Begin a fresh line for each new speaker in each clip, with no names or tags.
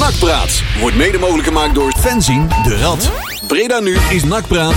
Nakpraat wordt mede mogelijk gemaakt door Fenzin de Rad. Breda nu is Nakpraat.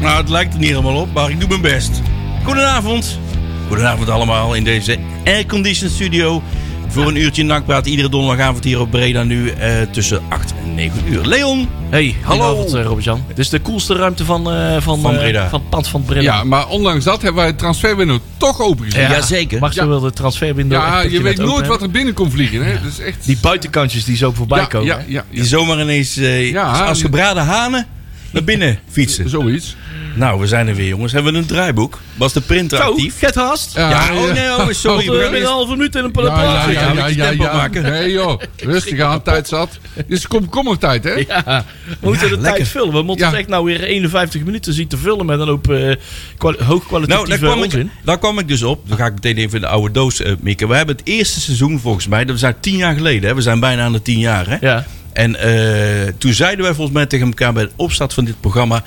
Nou, het lijkt er niet helemaal op, maar ik doe mijn best. Goedenavond. Goedenavond allemaal in deze airconditioned studio. Voor een uurtje nakpraat iedere donderdagavond hier op Breda nu eh, tussen 8 en 9 uur. Leon,
Hey,
hallo.
hallo
eh,
Robert-Jan. Dit is de koelste ruimte van, eh, van,
Van
eh,
Breda.
van het pand van Breda.
Ja, maar ondanks dat hebben wij het transferwindow toch opengezet.
Ja. jazeker.
Mag ze
Ja.
wel de transferwindow echt
Ja,
dat
je weet
net open
nooit
hebt?
wat er binnen komt vliegen. Hè? Dat is echt...
Die buitenkantjes die zo voorbij
ja,
komen.
ja, ja,
die
ja.
zomaar ineens eh,
Ja,
als, als
die-
gebraden hanen naar binnen fietsen.
Zoiets.
Nou, we zijn er weer jongens. Hebben we een draaiboek? Was de printer
Zo,
actief?
get haast.
Ja,
Ja, oh nee, oh, sorry.
we hebben een
Ja,
halve minuut en een
Ja,
paar
ja,
plaatsen,
ja,
ja,
ja,
moet je
ja,
tempo
ja.
maken.
Nee joh, rustig aan, tijd zat. Dit is komkommertijd hè?
We moeten de
lekker.
tijd vullen. We moeten
Ja.
het echt nou weer 51 minuten zien te vullen met een hoop eh, kwa-
Nou, daar
hoogkwalitatieve
kwam, ik,
onzin.
daar kwam ik dus op. Dan ga ik meteen even in de oude doos eh, mikken. We hebben het eerste seizoen volgens mij, dat zijn tien jaar geleden. Hè? We zijn bijna aan de tien jaar. Hè?
Ja.
En eh, toen zeiden wij volgens mij tegen elkaar bij de opstart van dit programma.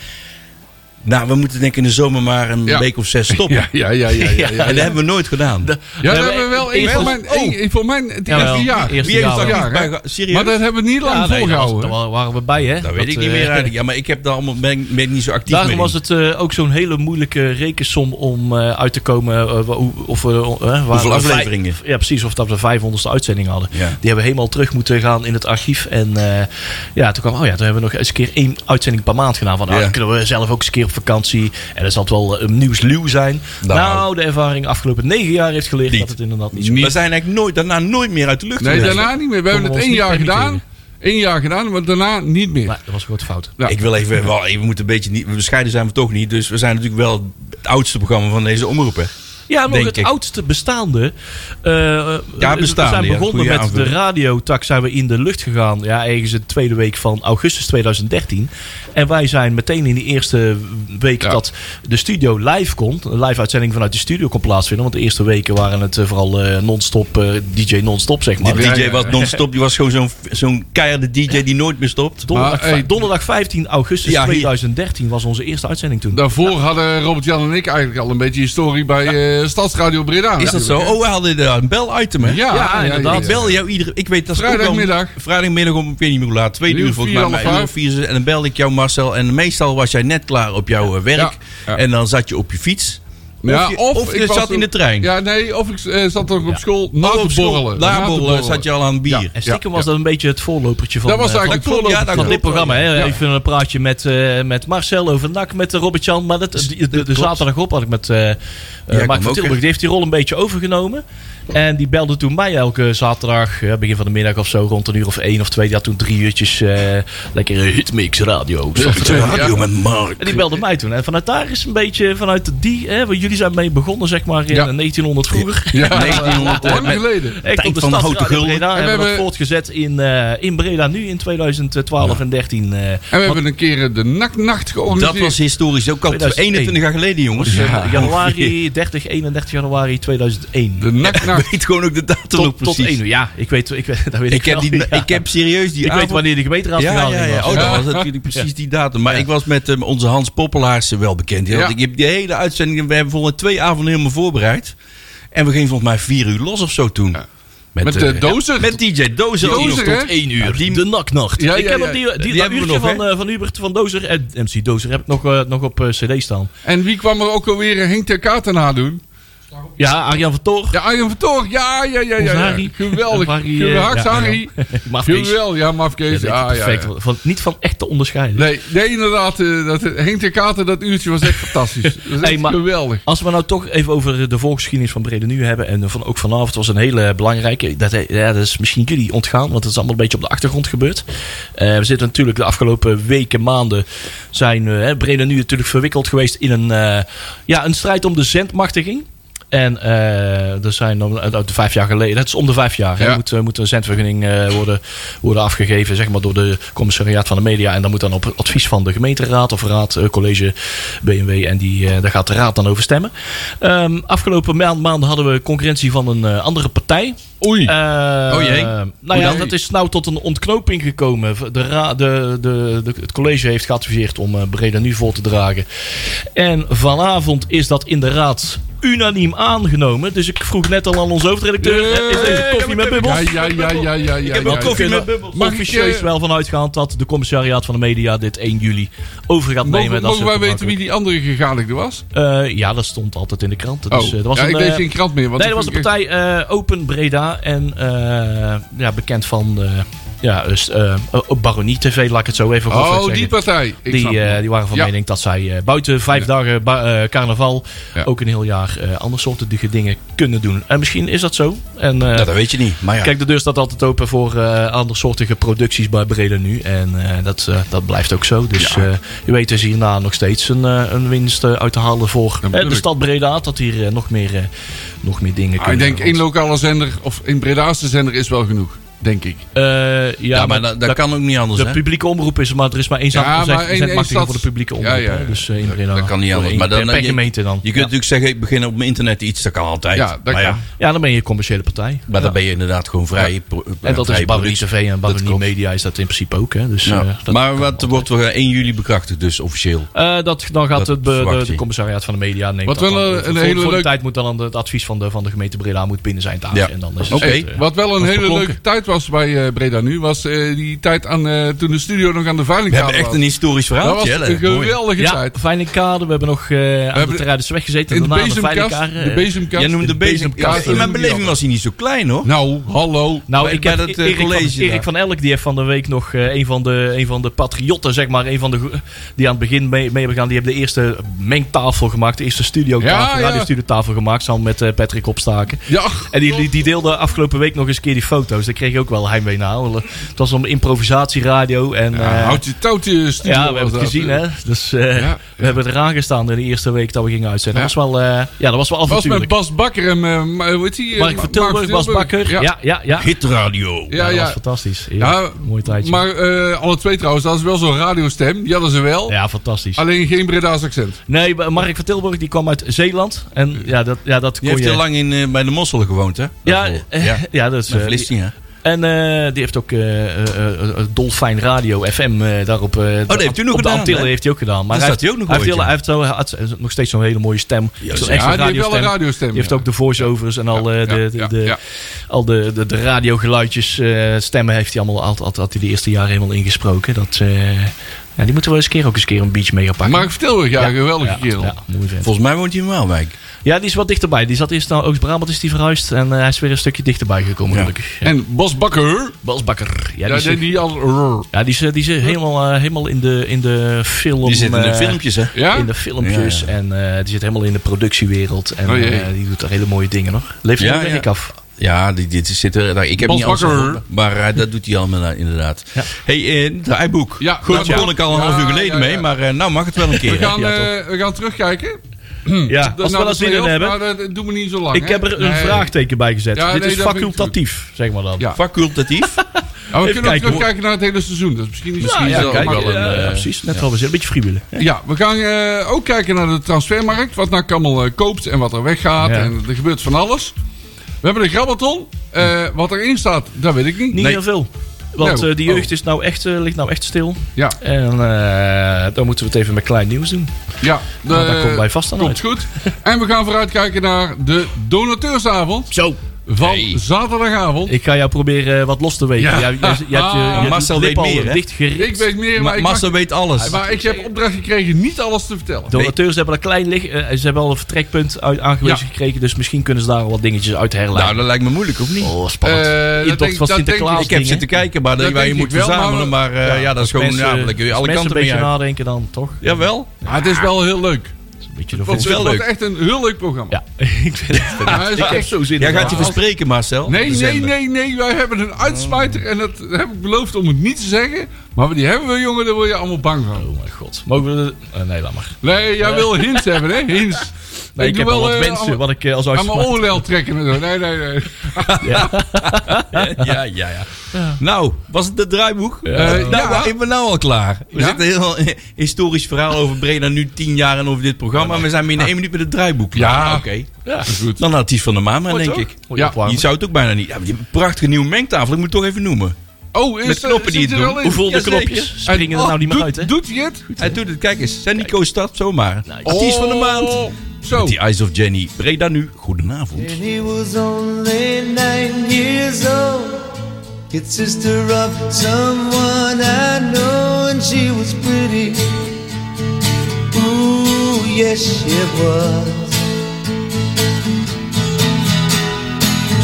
Nou, we moeten denk ik in de zomer maar een
Ja.
week of zes stoppen.
Ja, ja, ja, ja, ja,
En
ja.
dat hebben we nooit gedaan.
Ja,
Nee,
dat
maar
hebben we wel. Ik
eerst
voor
was-
mijn, één- ik- voor mijn het eerste
Jawel,
jaar.
eerst-
Wie heeft
Ja,
daar
ja,
niet bij
hè?
ge- Serieus?
Maar dat hebben we niet lang
Ja, nee, daar, was-
volgehouden.
daar waren we bij, hè?
dat weet ik niet
eh,
meer eigenlijk. Ja, maar ik heb daar allemaal, ben, ben ik niet zo actief
Daarom
mee.
was het eh, ook zo'n hele moeilijke rekensom om eh, uit te komen eh, wa- hoe- of we, eh, waar we vijf-
afleveringen?
ja, precies. Of dat we de 500ste uitzending hadden.
Ja.
Die hebben we helemaal terug moeten gaan in het archief. En eh, ja, toen kwam, oh ja, toen hebben we nog eens een keer één uitzending per maand gedaan. Van, ah,
Ja.
dan kunnen we zelf ook eens een keer op vakantie. En dat zal het wel eh, een nieuwsluw zijn.
Nou.
Nou, de ervaring afgelopen negen jaar heeft geleerd
Niet.
dat het inderdaad niet zo
We zijn eigenlijk nooit, daarna nooit meer uit de lucht
Nee,
geweest.
daarna niet meer. We
Konden
hebben
we
het
ons
één
niet
jaar gedaan.
permitteren.
Eén jaar gedaan, maar daarna niet meer.
Maar dat was een grote fout.
Ja.
Ik wil even, wel, we moeten een beetje niet, bescheiden zijn we toch niet. Dus we zijn natuurlijk wel het oudste programma van deze omroepen.
Ja, maar ook
Denk
het
ik.
oudste bestaande. eh,
bestaande,
We
ja.
zijn begonnen
Goeie
met
aanvulling.
de radiotak. Zijn we in de lucht gegaan. Ja, ergens in de tweede week van augustus 2013. En wij zijn meteen in die eerste week
Ja.
dat de studio live komt. Een live uitzending vanuit de studio kon plaatsvinden. Want de eerste weken waren het eh, vooral eh, non-stop. eh, DJ non-stop, zeg
Die
maar.
Ja, ja,
DJ
ja.
was non-stop. Die was gewoon zo'n zo'n keiharde DJ die nooit meer stopt.
Donderdag,
Maar, hey,
donderdag 15 augustus
eh, Ja, hier.
2013 was onze eerste uitzending toen.
Daarvoor hadden Robert-Jan en ik eigenlijk al een beetje historie bij eh, Stadsradio Breda.
Is dat
natuurlijk,
zo?
hè?
Oh, we hadden daar een bel-item, hè?
Ja,
Ja, inderdaad.
Ik bel jou iedere... Ik weet, dat is ook wel-
Vrijdagmiddag.
vrijdagmiddag om, ik weet niet meer hoe laat, twee
Uur
uur volgens mij.
vier,
maar
half
uur
vijf.
vier is- en dan belde ik jou, Marcel. En meestal was jij net klaar op jouw eh, werk.
Ja, ja.
En dan zat je op je fiets.
Ja,
je,
of
of je
ik was
zat in
ook-
de trein.
Ja, nee, of ik eh, zat nog op school na
Oh,
te
op school.
borrelen.
Daar
Na te
borrelen zat je al aan bier.
En stiekem
Ja,
was
ja.
dat een beetje het voorlopertje van
Dat was
eh, van-
eigenlijk
klopt,
het
ja,
voorloper.
dat
van dit programma. Hè?
Ja.
Even een praatje met, eh, met Marcel over NAC, met eh, Robert-Jan. Maar dat, de, de,
Dus
de
klopt.
zaterdag op had ik met eh eh,
kwam
Mark
ook,
van Tilburg. Die heeft die rol een beetje overgenomen. En die belde toen mij elke zaterdag, eh, begin van de middag of zo, rond een uur of één of twee. Die had toen drie uurtjes eh, lekkere hitmix radio.
Radio met
En
Mark.
die belde mij toen. En vanuit daar is een beetje, vanuit die, hè, waar jullie zijn mee begonnen, zeg maar, in eh,
Ja.
1900 vroeger.
Ja,
1900
lang
met-
geleden.
Echt
Tijd
op de
van de
stadsraad
houten
in
gulden.
Breda
En we
hebben we dat
hebben-
voortgezet in, eh, in Breda nu in 2012 en 13. eh,
En we hebben een keer eh, de naknacht
Dat
georganiseerd.
was historisch ook al
2001.
21 jaar geleden, jongens.
eh,
Ik
januari 30, 31 januari 2001.
De naknacht.
weet gewoon ook de datum nog
tot, tot
precies.
1 uur. Ja, ik weet, ik weet, dat weet ik,
Ik heb,
wel,
die,
ja.
ik heb serieus die
ik weet
avond-
wanneer de
Ja,
gemeenteraadsvergadering
ja, ja.
was.
Oh, dat
Ja.
was natuurlijk precies die datum. Maar ik was met eh, onze Hans Poppelaars eh, wel bekend. Die
Ja.
had- Ik heb die hele uitzending, we hebben volgens mij twee avonden helemaal voorbereid. En we gingen volgens mij vier uur los of zo toen.
Met
eh,
de dozer.
Met DJ Dozer.
Dozer,
nog
hè?
tot één uur.
Die, de naknacht.
Ja,
ik
ja,
heb
ja.
op die, die,
Die
dat
hebben we
uurtje
nog,
van, eh, van Hubert van Dozer en MC Dozer heb ik nog, eh, nog op eh, cd staan.
En wie kwam er ook alweer eh, Henk ter Katen na doen?
Ja, Arjan van Toor.
Ja, Arjen van Toor. Ja, ja, ja,
Onze
ja. ja.
Harry.
Geweldig.
Harry, eh,
Geweldig,
ja,
Harry.
Maar
Geweldig. Ja, mafkees. Ja, ja,
perfect.
ja.
Van, niet van echt te onderscheiden.
Nee, nee, inderdaad. eh, Dat, Henk ter Katen, dat uurtje was echt fantastisch. Dat was
Hey,
echt
maar-
geweldig.
Als we nou toch even over de voorgeschiedenis van Brede Nu hebben. En van, ook vanavond was een hele belangrijke. Dat, ja, dat is misschien jullie ontgaan, want het is allemaal een beetje op de achtergrond gebeurd. Eh, we zitten natuurlijk de afgelopen weken, maanden. Zijn eh, hè, Brede Nu natuurlijk verwikkeld geweest in een, eh, ja, een strijd om de zendmachtiging. En eh, er zijn dan uit de vijf jaar geleden, dat is om de vijf jaar, hè,
Ja.
moet, eh, moet een zendvergunning eh, worden, worden afgegeven zeg maar, door de commissariaat van de media. En dan moet dan op advies van de gemeenteraad of raad, eh, college BMW. En die, eh, daar gaat de raad dan over stemmen. Ehm, afgelopen maand, maand hadden we concurrentie van een eh, andere partij.
Oei.
Eh,
Oh jee.
Nou ja,
dan?
dat is nou tot een ontknoping gekomen. De ra- de, de, de- het college heeft geadviseerd om eh Breda nu voor te dragen. En vanavond is dat in de raad unaniem aangenomen. Dus ik vroeg net al aan onze hoofdredacteur:
Hey,
Eh, is deze koffie met bubbels?
eh, Ja, ja, ja, ja, ja. Ik
heb wel koffie met bubbels.
Mag
Mag
ik
ik,
er
eh,
wel van uitgaan dat de commissariaat van de media dit 1 juli over gaat nemen?
Mogen,
dat is
mogen wij
heel
weten wie die andere gegadigde was?
gemakkelijk. Eh, ja, dat stond altijd in de krant.
Oh,
Dus, eh, dat was
ja,
een,
ik
eh,
lees geen krant meer. Want
nee, dat
ik
was de
vind
partij eh, Open Breda en eh, ja, bekend van eh, ja, dus, eh, op Baronie TV, laat ik het zo even
echt-
grofweg
Oh, die
zeggen.
partij. Ik
Die,
snap
eh,
hem.
die waren van
Ja.
mening dat zij eh, buiten vijf
Ja.
dagen ba- eh, carnaval
Ja.
ook een heel jaar eh andere soorten dingen- dingen kunnen doen. En misschien is dat zo. En, eh,
Ja, Nou, dat weet je niet. Maar ja.
Kijk, de deur staat altijd open voor eh andersoortige producties bij Breda nu. En eh, dat, eh, dat blijft ook zo. Dus eh, je weet dus hierna nog steeds een, eh, een winst eh, uit te halen voor eh,
bedoel
de
ik.
stad Breda. Dat hier eh, nog, meer, eh, nog meer dingen
Ah, ik
kunnen.
denk één
Want,
lokale zender, of één Bredaanse zender is wel genoeg. Denk ik.
eh, ja,
ja,
maar
maar dat, dat kan ook niet anders,
De
hè?
publieke omroep is, maar er is maar één zaak
Ja, maar één- één
marketing
stad-
voor de publieke
Ja,
omroep.
ja,
hè.
ja.
Dus eh, in Breda.
dat kan niet
Voor
anders,
één
maar dan-
per, per
je-
gemeente dan.
Je kunt
ja.
natuurlijk zeggen, ik begin op mijn internet iets, dat kan altijd.
Ja, dat
maar,
kan.
Ja, dan ben je commerciële partij.
maar dan
Ja.
ben je inderdaad gewoon vrij. pro-
En dat is
vrij
Baronie
productie.
TV en Baronie
klopt.
Media is dat in principe ook. Hè. Dus,
Ja.
eh, dat
maar wat wordt er eh, 1 juli bekrachtigd, dus officieel?
Eh, dat, dan gaat
Dat
het be-
verwacht
de, de
je.
commissariaat van de media neemt
Wat
dat
wel
dan
een-
over.
een
voor,
hele
voor de
leuke-
tijd moet dan het advies van de, van de gemeente Breda moet binnen zijn daar.
Ja.
En dan is het,
Oké.
eh,
Hey, wat wel een hele
beklonken.
leuke tijd was bij eh, Breda nu, was eh, die tijd aan, eh, toen de studio nog aan de
We
veilingkade
hebben echt een
was.
historisch
Dat was
verhaaltje. hè?
een
Mooi.
geweldige
ja,
tijd.
Veilingkade. We hebben nog eh aan de
hebben-
Terradesweg gezeten.
In de
En daarna aan de
bezemkast.
Veilingkade.
De
eh,
bezemkast.
Jij noemde de bezemkast.
bezemkast.
In mijn beleving was hij niet zo klein, hoor.
Nou, hallo.
nou,
bij-
ik heb
bij dat, eh,
Erik,
college
van, Erik
daar.
van Elk, die heeft van de week nog eh, een, van de, een van de patriotten, zeg maar, een van de, go- die aan het begin mee, mee hebben gegaan. Die hebben de eerste mengtafel gemaakt, de eerste
Ja,
studiotafel,
ja.
radiostudiotafel gemaakt, samen met eh, Patrick Opstaken.
Ja,
En die, die, die deelde afgelopen week nog eens een keer die foto's. Daar kreeg ik ook wel heimwee naar. Want, eh, Het was om improvisatieradio. En, eh,
houd je touwtje studio.
ja, we
was
hebben het
dat.
gezien, hè. Dus eh,
ja.
we hebben er aan gestaan in de eerste week dat we gingen uitzenden.
Ja.
Dat was wel, eh, ja, dat was wel
was met
avontuurlijk.
Bas Bakker en, eh, Ma- hoe heet die? eh,
Mark
Ma-
van Tilburg,
Mark
Bas Bakker. Ja,
Ja,
ja, ja. ja.
Hitradio.
ja.
dat was
ja.
fantastisch. Ja,
Ja,
mooi tijdje.
maar eh, alle twee trouwens, dat is wel zo'n radiostem. Die hadden ze wel,
ja, fantastisch.
alleen geen Breda's accent.
Nee, maar Mark van Tilburg die kwam uit Zeeland. En ja, dat, ja, dat
Die
kon
heeft
je...
heel lang in, eh, bij de Mosselen gewoond, hè?
ja,
Daarvoor.
eh,
ja.
ja. dat is...
Bij
eh,
Vlissingen.
En eh, die heeft ook eh, eh, eh, eh, Dolfijn Radio FM eh, daarop.
Oh,
eh, de-
heeft u nog
op de
gedaan,
Antillen
hè?
heeft hij ook gedaan. Maar
Dus
Dan
hij
staat
heeft,
hij ook nog
hij heeft,
ooit,
heel- hij heeft wel- had- eh, nog steeds zo'n hele mooie stem. Zo'n
Juist.
echt
Ja,
zo'n
die heeft wel een
radiostem.
radiostem.
Die heeft
ja.
ook de voice-overs en al, eh,
Ja,
de,
ja,
de, de,
ja.
al de, de, de radiogeluidjes, eh, stemmen heeft hij allemaal altijd, altijd die de eerste jaren helemaal ingesproken. Dat, eh, ja, die moeten we eens een keer ook eens een keer een beach mee pakken.
Mark van Tilburg, ja,
Ja,
geweldige
ja,
kerel.
Ja, mooi vent.
Volgens mij woont hij in Waalwijk.
ja, die is wat dichterbij. Die zat eerst naar Oost-Brabant, is die verhuisd. En eh, hij is weer een stukje dichterbij gekomen,
Ja.
gelukkig. Ja.
En Bas Bakker,
Bas Bakker. Ja,
ja,
die is-
die, die al...
Ja, die zit, die zit helemaal, eh, helemaal in de, in de film.
Die zit in de
eh,
filmpjes, hè?
Ja?
In de filmpjes.
Ja,
En eh, die zit helemaal in de productiewereld. En
Oh jee.
eh, die doet daar hele mooie dingen nog. Leeft
Ja,
heel
ja.
werk af.
Ja, die, dit zit er. nou, ik heb
Bas
niet alles
Bakker.
gevonden, maar eh, dat doet hij allemaal eh, inderdaad.
Ja.
Hey, eh, het draaiboek.
Ja,
Goed, daar
ja.
begon ik al een
Ja,
half uur geleden
ja,
mee,
ja.
maar eh, nou mag het wel een keer.
We
hè?
gaan,
Ja,
eh, we gaan terugkijken.
Ja,
De-
als we
naar
wel
de
eens zin in
play-off,
hebben.
Maar dat doen we niet zo lang.
Ik
hè?
heb er een
Nee.
vraagteken bij gezet.
Ja,
Dit
nee,
is
dat vind ik
facultatief, zeg maar dan.
Ja.
Facultatief.
Maar Oh, we
Even
kunnen ook
kijken,
terugkijken naar het hele seizoen. Dat is misschien niet
Nou,
misschien
ja,
zo
kijk,
makkelijk.
ja,
eh,
ja, precies. Net al we een beetje freewheelen.
Ja, we gaan eh, ook kijken naar de transfermarkt. Wat NAC allemaal eh, koopt en wat er weggaat.
Ja.
En er gebeurt van alles. We hebben de grabbelton. Eh, wat erin staat, dat weet ik niet.
Niet heel veel. Want
Nou,
eh, die jeugd
oh.
is nou echt, eh, ligt nou echt stil.
Ja,
En eh, dan moeten we het even met klein nieuws doen.
ja. De,
Nou, daar komt bij vast aan
Komt
uit.
goed. En we gaan vooruitkijken naar de donateursavond
Zo.
van
Hey.
zaterdagavond. Ik,
Ik ga jou proberen eh, wat los te wegen.
Ja.
Ja. Je, je, je hebt je, je
Ah,
hebt
Marcel
je
weet
lippen al
meer, hè?
dichtgericht.
weet meer, maar,
Ma-
ik,
Massa weet alles.
mag- maar ik heb opdracht gekregen niet alles te vertellen.
Donateurs hebben een klein lig, eh, ze hebben al een vertrekpunt uit, aangewezen
Ja.
gekregen, dus misschien kunnen ze daar al wat dingetjes uit
Nou,
herleiden.
dat lijkt me moeilijk, of niet?
oh,
Eh,
spannend.
dat
Intocht
denk-
van
dat denk ik-
Sinterklaas.
ik heb
dingen.
zitten kijken, maar dat
Dat
wij je
denk
moet
ik wel,
verzamelen. Maar, eh, ja, dat is gewoon...
Mensen-
ja, dan kun je
als
alle kanten
mensen een
mee
beetje
uit.
nadenken dan, toch?
Jawel.
Maar het is wel heel leuk.
Dat is een beetje de
Want
volgende.
wel
het wordt
leuk.
echt een heel leuk programma.
Ja, ik vind het
Ja, het is
Ik heb
echt-
zo zin
Jij
in.
gaat je verspreken, Marcel.
Nee,
De
nee,
zender.
nee, nee. Wij hebben een uitsmijter en dat heb ik beloofd om het niet te zeggen. Maar die hebben we, jongen, daar word je allemaal bang van.
Oh mijn god. Mogen we... eh, nee, laat maar.
Nee, jij wil hints hebben, hè? Hints.
Nee, ik,
doe
heb wel wat
eh,
wensen
aan-
wat ik eh, als
Aan mijn
uitspraak...
oorlel trekken. en zo. Nee, nee, nee.
ja, ja, ja. Nou, was het het draaiboek?
Eh,
nou,
ja.
ik ben nou al klaar. We
Ja?
zitten heel eh, historisch verhaal over Breda nu tien jaar en over dit programma. En we zijn binnen één minuut met het draaiboek.
Ja.
Nou, oké.
Ja,
Goed.
Dan had hij van de Mama,
Mooi,
denk
toch?
ik.
Mooi
Ja.
opwarmen.
Je zou het ook bijna niet. Ja, maar die prachtige nieuwe mengtafel, ik moet het toch even noemen.
Oh, is
Met knoppen die
zit
het
er
doen.
al in?
Hoeveel de
Jazeker.
knopjes springen
Oh,
er nou niet meer
doet-
uit, hè?
Doet hij het?
Hij doet het, kijk eens. Sandico Stad, zomaar.
Nice.
Artiest van de maand.
Oh. Zo.
Met die Eyes of Jenny. Breda nu. Goedenavond.
And he was only nine years old. His sister of someone I know, and she was pretty. Ooh, yes, she was.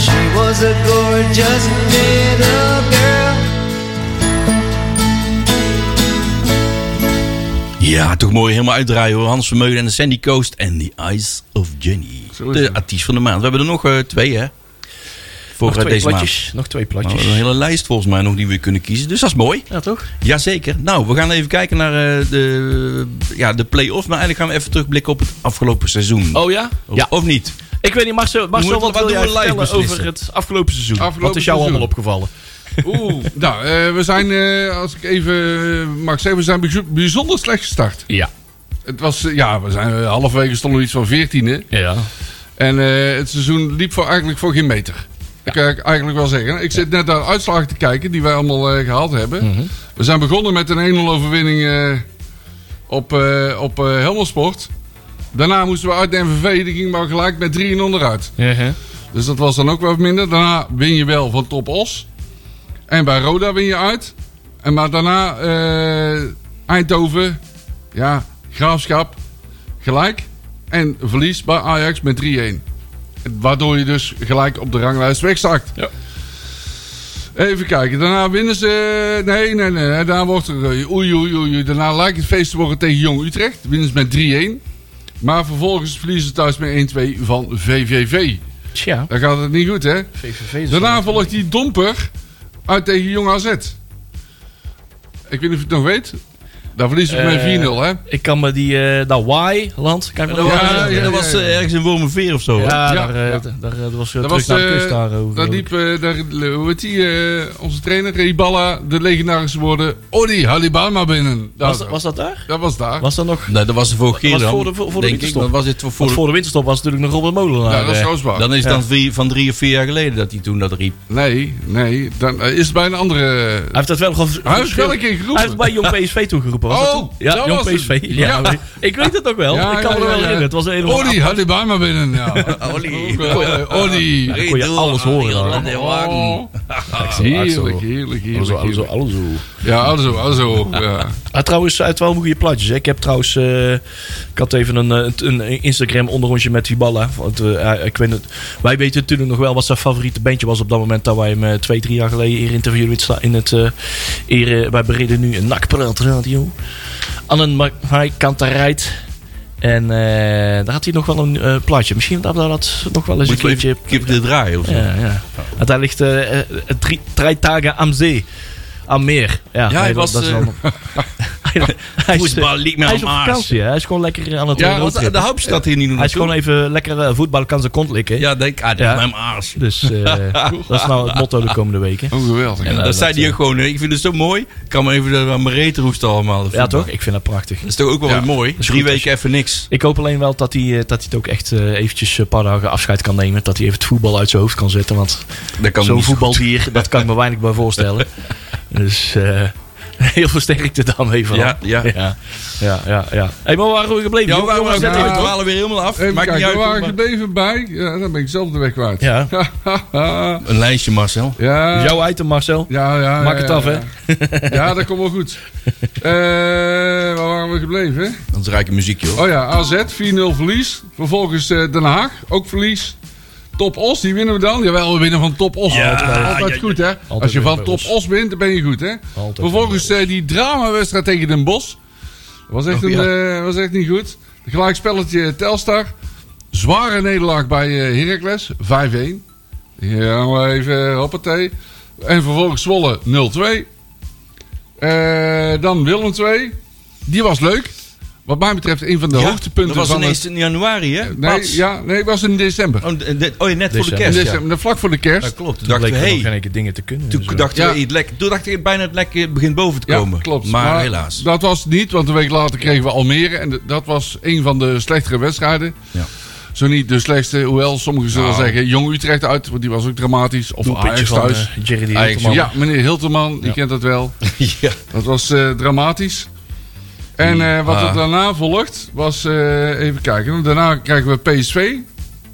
She was a gorgeous little girl.
Ja, toch mooi helemaal uitdraaien hoor. Hans Vermeulen en de Sandy Coast en The Eyes of Jenny.
Zo is
De
het.
artiest van de maand. We hebben er nog eh, twee hè. Voor
Nog
eh,
twee
deze maand.
platjes. Nog twee
Nou, we
platjes.
hebben een hele lijst volgens mij nog die we kunnen kiezen. Dus dat is mooi.
Ja, toch?
Jazeker. Nou, we gaan even kijken naar eh, de, ja, de play-off. Maar eigenlijk gaan we even terugblikken op het afgelopen seizoen.
Oh ja?
Of- Of niet?
Ik weet niet, Marcel, Marcel
Moet-
wat,
wat
wil
doen
jij
we live
vertellen
beslissen?
over het afgelopen seizoen?
Afgelopen
wat is jou
seizoen.
allemaal opgevallen?
Oeh. nou, eh, we zijn, eh, als ik even eh, mag zeggen, we zijn bijzo- bijzonder slecht gestart.
Ja.
Het was, eh, ja, we zijn eh, halverwege stonden we iets van 14e.
Ja.
En eh, het seizoen liep voor, eigenlijk voor geen meter. Dat kan ik eigenlijk wel zeggen. Ik zit net naar de uitslagen te kijken die wij allemaal eh, gehaald hebben. We zijn begonnen met een 1-0 overwinning eh, op, eh op eh, Helmelsport. Daarna moesten we uit de MVV. Die ging maar gelijk met 3-0 eruit. Dus dat was dan ook wat minder. Daarna win je wel van Top Os. En bij Roda win je uit. En maar daarna eh, Eindhoven. Ja, Graafschap. Gelijk. En verlies bij Ajax met 3-1. Waardoor je dus gelijk op de ranglijst wegzakt.
Ja.
Even kijken. Daarna winnen ze... Nee, nee, nee. nee. Daarna wordt er... eh, Oei, oei, oei. oei. Daarna lijkt het feest te worden tegen Jong Utrecht. Winnen ze met 3-1. Maar vervolgens verliezen ze thuis met 1-2 van VVV.
Tja.
Dan gaat het niet goed, hè?
VVV. is
Daarna
wel-
volgt die domper uit tegen Jong AZ. Ik weet niet of je het nog weet. Daar verliezen we
Eh,
met 4-0, hè?
Ik kan me die... eh dat Y-land... Kan ik me
Dat
nog
was,
ja,
eh,
ja,
dat was eh,
ja.
ergens in Wormerveer of zo. hè?
Ja,
Ja.
daar, eh,
Ja.
daar, daar was
Dat
terug
was
naar de
eh,
kust daar. over.
daar liep, eh, daar, hoe heet die, eh, onze trainer, Riballa, de legendarische woorden, Odi Halibama binnen. Daar,
was, was dat daar?
dat was daar.
Was dat nog...
Nee, dat was de vorige keer
was
dan.
voor de- voor de
Denk ik.
winterstop.
Dat was dit voor, voor
Want
de-
voor de winterstop was het natuurlijk nog Robert Molenaar.
ja, dat is
eh.
trouwens waar.
Dan is het dan drie, van drie of vier jaar geleden dat hij toen dat riep.
Nee, nee, dan eh, is het bij een andere...
Hij heeft dat wel nog
Hij heeft wel een keer geroepen.
Hij heeft bij Jong PSV toegeroepen. Was
Oh,
dat toen? Ja,
dat
Jong
was het.
PSV.
Ja.
Ja. Ik weet het nog wel.
Ja,
Oh, ik kan
ja,
me er
ja,
wel
ja. Oh,
herinneren. Het was een of andere
Odi Halibama binnen, ja. eh,
Olly.
Odi.
Dan kon je alles horen dan.
Oh, heerlijk, heerlijk, heerlijk. heerlijk.
alles zo.
Ja, oh, alzo, alzo, ja.
Ah, trouwens, uit wel goede plaatjes. hè. Ik heb trouwens, eh, ik had even een, eh, een een Instagram onderrondje met Viballa. Want, eh, hij- ik weet het, wij weten natuurlijk nog wel wat zijn favoriete bandje was op dat moment dat wij hem eh, twee, drie jaar geleden hier interviewden in het, sta- in het eh, hier, eh, wij bereden nu een nakpraat radio. Annen hij Kantarijt. En eh, daar had hij nog wel een eh, plaatje. Misschien dat we dat nog wel eens
Moet je
een keertje.
even keer dit draaien of zo?
Ja, ja. Want daar ligt eh, eh, drie, drie dagen aan zee. Aan meer. Ja,
hij was,
is
eh,
wel- hij, hij is,
Moest maar liep met
hij is
hem
op
aas.
vakantie. hè. Hij is gewoon lekker aan het
Ja, want eh,
roadtrippen.
de hoopstad hier niet doen.
Hij is gewoon even lekker eh, voetballen, kan zijn kont likken.
Ja, denk ah, dat
Ja.
is mijn aas.
Dus eh, dat is nou het motto de komende weken.
Oh, geweldig.
En
Ja,
dat
dat,
zei hij
eh,
ook gewoon. eh, Ik vind het zo mooi. Ik kan me even aan mijn reet roesten allemaal. de
Ja,
voetbal.
toch? Ik vind dat prachtig.
Dat is toch ook wel
Ja,
weer mooi.
is
Drie
goed als
weken even niks.
Ik hoop alleen wel dat hij, eh, dat hij het ook echt eh, eventjes een paar dagen afscheid kan nemen. Dat hij even het voetbal uit zijn hoofd kan zetten. Want
Dat kan
zo'n
niet.
voetbaldier, dat kan ik me weinig bij voorstellen. Dus eh, heel veel sterkte daarmee van.
Ja, ja.
ja, ja. ja, ja. hey, maar waar waren we gebleven?
Ja, we
Jongen,
waren-
jongens,
we
net even-
ja.
dwalen weer helemaal af.
Even
Maakt niet
kijken,
uit.
we waren
hoor, maar-
gebleven bij. Ja, dan ben ik zelf de weg kwijt.
ja.
ja,
Een lijstje, Marcel.
ja,
Jouw item, Marcel.
ja, ja.
Maak het
ja,
af, hè?
ja. Ja, dat komt wel goed. Eh, waar waren we gebleven?
Dan draai ik een muziekje hoor.
Oh ja, AZ, 4-0 verlies. Vervolgens eh, Den Haag, ook verlies. Top Os, die winnen we dan. Jawel, we winnen van Top Os.
Ja,
altijd altijd
ja,
goed, hè? Als je
winnen
van
bij
Top
ons.
Os wint, dan ben je goed, hè?
Altijd
Vervolgens eh, die dramawedstrijd tegen Den Bosch. Was echt,
Oh,
een,
ja.
eh, was echt niet goed. Gelijkspelletje Telstar. Zware nederlaag bij eh, Heracles, 5-1. Ja, maar even, eh, hoppatee. En vervolgens Zwolle, 0-2. Eh, dan Willem 2. Die was leuk. Wat mij betreft een van de
Ja,
hoogtepunten
Dat was
van
ineens in januari, hè?
het...
Mats.
Nee, ja, nee, het was in december.
Oh, de- de- oh ja, net voor de
December.
in
kerst. ja.
december, vlak voor de kerst.
Dat klopt. Toen
Toen
dachten we,
bleken er nog
hey,
geen enkele dingen te kunnen. Dus, eh, en
toen
zo.
dachten we,
Ja.
hey, het lek, toen dacht ik bijna het lek begint boven te
Ja,
komen.
klopt.
Maar, helaas.
Dat was het niet, want een week later kregen we Almere. En d- dat was een van de slechtere wedstrijden.
Ja. Nou.
Zo niet de slechtste, hoewel sommigen zullen zeggen... Jong Utrecht uit, want die was ook dramatisch. Of
Doelpuntje
Ajax
van
thuis.
eh, Jerry die
Ajax,
Hilterman.
ja, meneer Hilterman, die kent dat wel.
ja.
Dat was eh, dramatisch. En eh, wat
Ah.
er daarna volgt was, eh, even kijken. Daarna krijgen we PSV.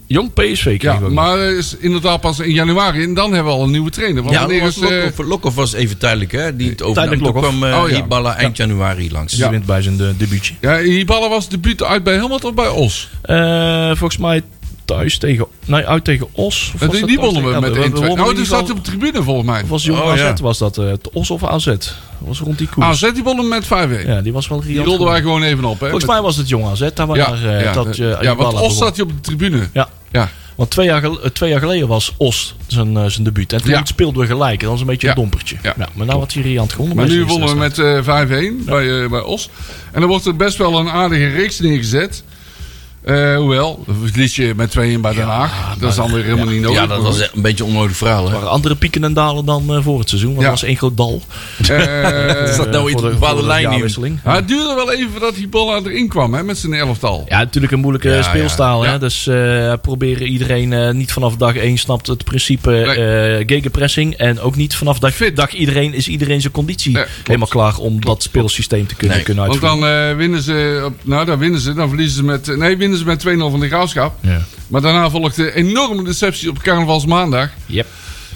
Jong PSV kreeg
Ja,
ook nog.
maar eh, is inderdaad pas in januari. En dan hebben we al een nieuwe trainer. Want
Ja,
wanneer
was
is, eh,
Lokhoff, Lokhoff was even tijdelijk, hè? Die het overnam.
Tijdelijk
Toen
Lokhoff.
kwam eh,
Oh, ja.
Hiballa eind januari langs.
Die wint bij zijn Nou, eh, debuutje.
ja, Hiballa was debuut uit bij Helmond of bij Os?
Eh, volgens mij thuis tegen... Nee, uit tegen Os. Of was
die
dat
die
thuis
wonnen we
tegen-
met
ja, we- we
1-2.
wonnen in
Nou, die
ieder geval-
zat op de tribune volgens mij.
Of was Jong
Oh,
AZ
ja.
was dat? eh, het Os of AZ? Dat was rond die koers.
AZ die wonnen met 5-1.
Ja, die was wel
Die
riant
rolden
goed.
wij gewoon even op. Hè?
Volgens
Met-
mij was het Jong AZ. Daar waar
ja,
eh,
ja,
dat, eh,
ja, want
Hiballa
Os
begon.
zat hij op de tribune.
Ja.
Ja.
Want twee jaar, gel- eh, twee jaar geleden was Os zijn, eh, zijn debuut. En toen
Ja.
speelden we gelijk. Dat was een beetje
Ja.
een dompertje.
Ja.
Nou, maar nou had hij Riant gewonnen.
Maar
bij
nu
zijn
wonnen we
eerste
met eh, 5-1 bij, eh, bij Os. En dan wordt er best wel een aardige reeks neergezet. Eh, hoewel, dan verlies je met 2-1 bij Den Haag. dat is dan weer helemaal niet nodig.
Ja, dat was echt een beetje een onnodig verhaal,
wedstrijd.
hè?
Er waren andere pieken en dalen dan eh, voor het seizoen. Want
Ja.
dat was één groot dal.
Eh,
Is dat
Eh,
nou
voor
iets
de-
een bepaalde
voor de
lijn in?
jaarwisseling.
maar het duurde wel even dat Hiballa erin kwam hè, met zijn elftal.
Ja, natuurlijk een moeilijke
Ja,
speelstaal.
ja, ja.
Hè? Dus eh, proberen iedereen eh, niet vanaf dag 1 snapt het principe eh gegenpressing. En ook niet vanaf dag,
Fit.
dag iedereen is iedereen zijn conditie
Nee, klopt.
helemaal klaar om dat speelsysteem te kunnen,
Nee,
kunnen
Want
uitvoeren.
dan eh, winnen ze, op, nou dan winnen ze, dan verliezen ze met, eh, nee winnen ze met 2-0 van de Graafschap.
Ja.
Maar daarna volgt de enorme deceptie op carnavalsmaandag.
Yep.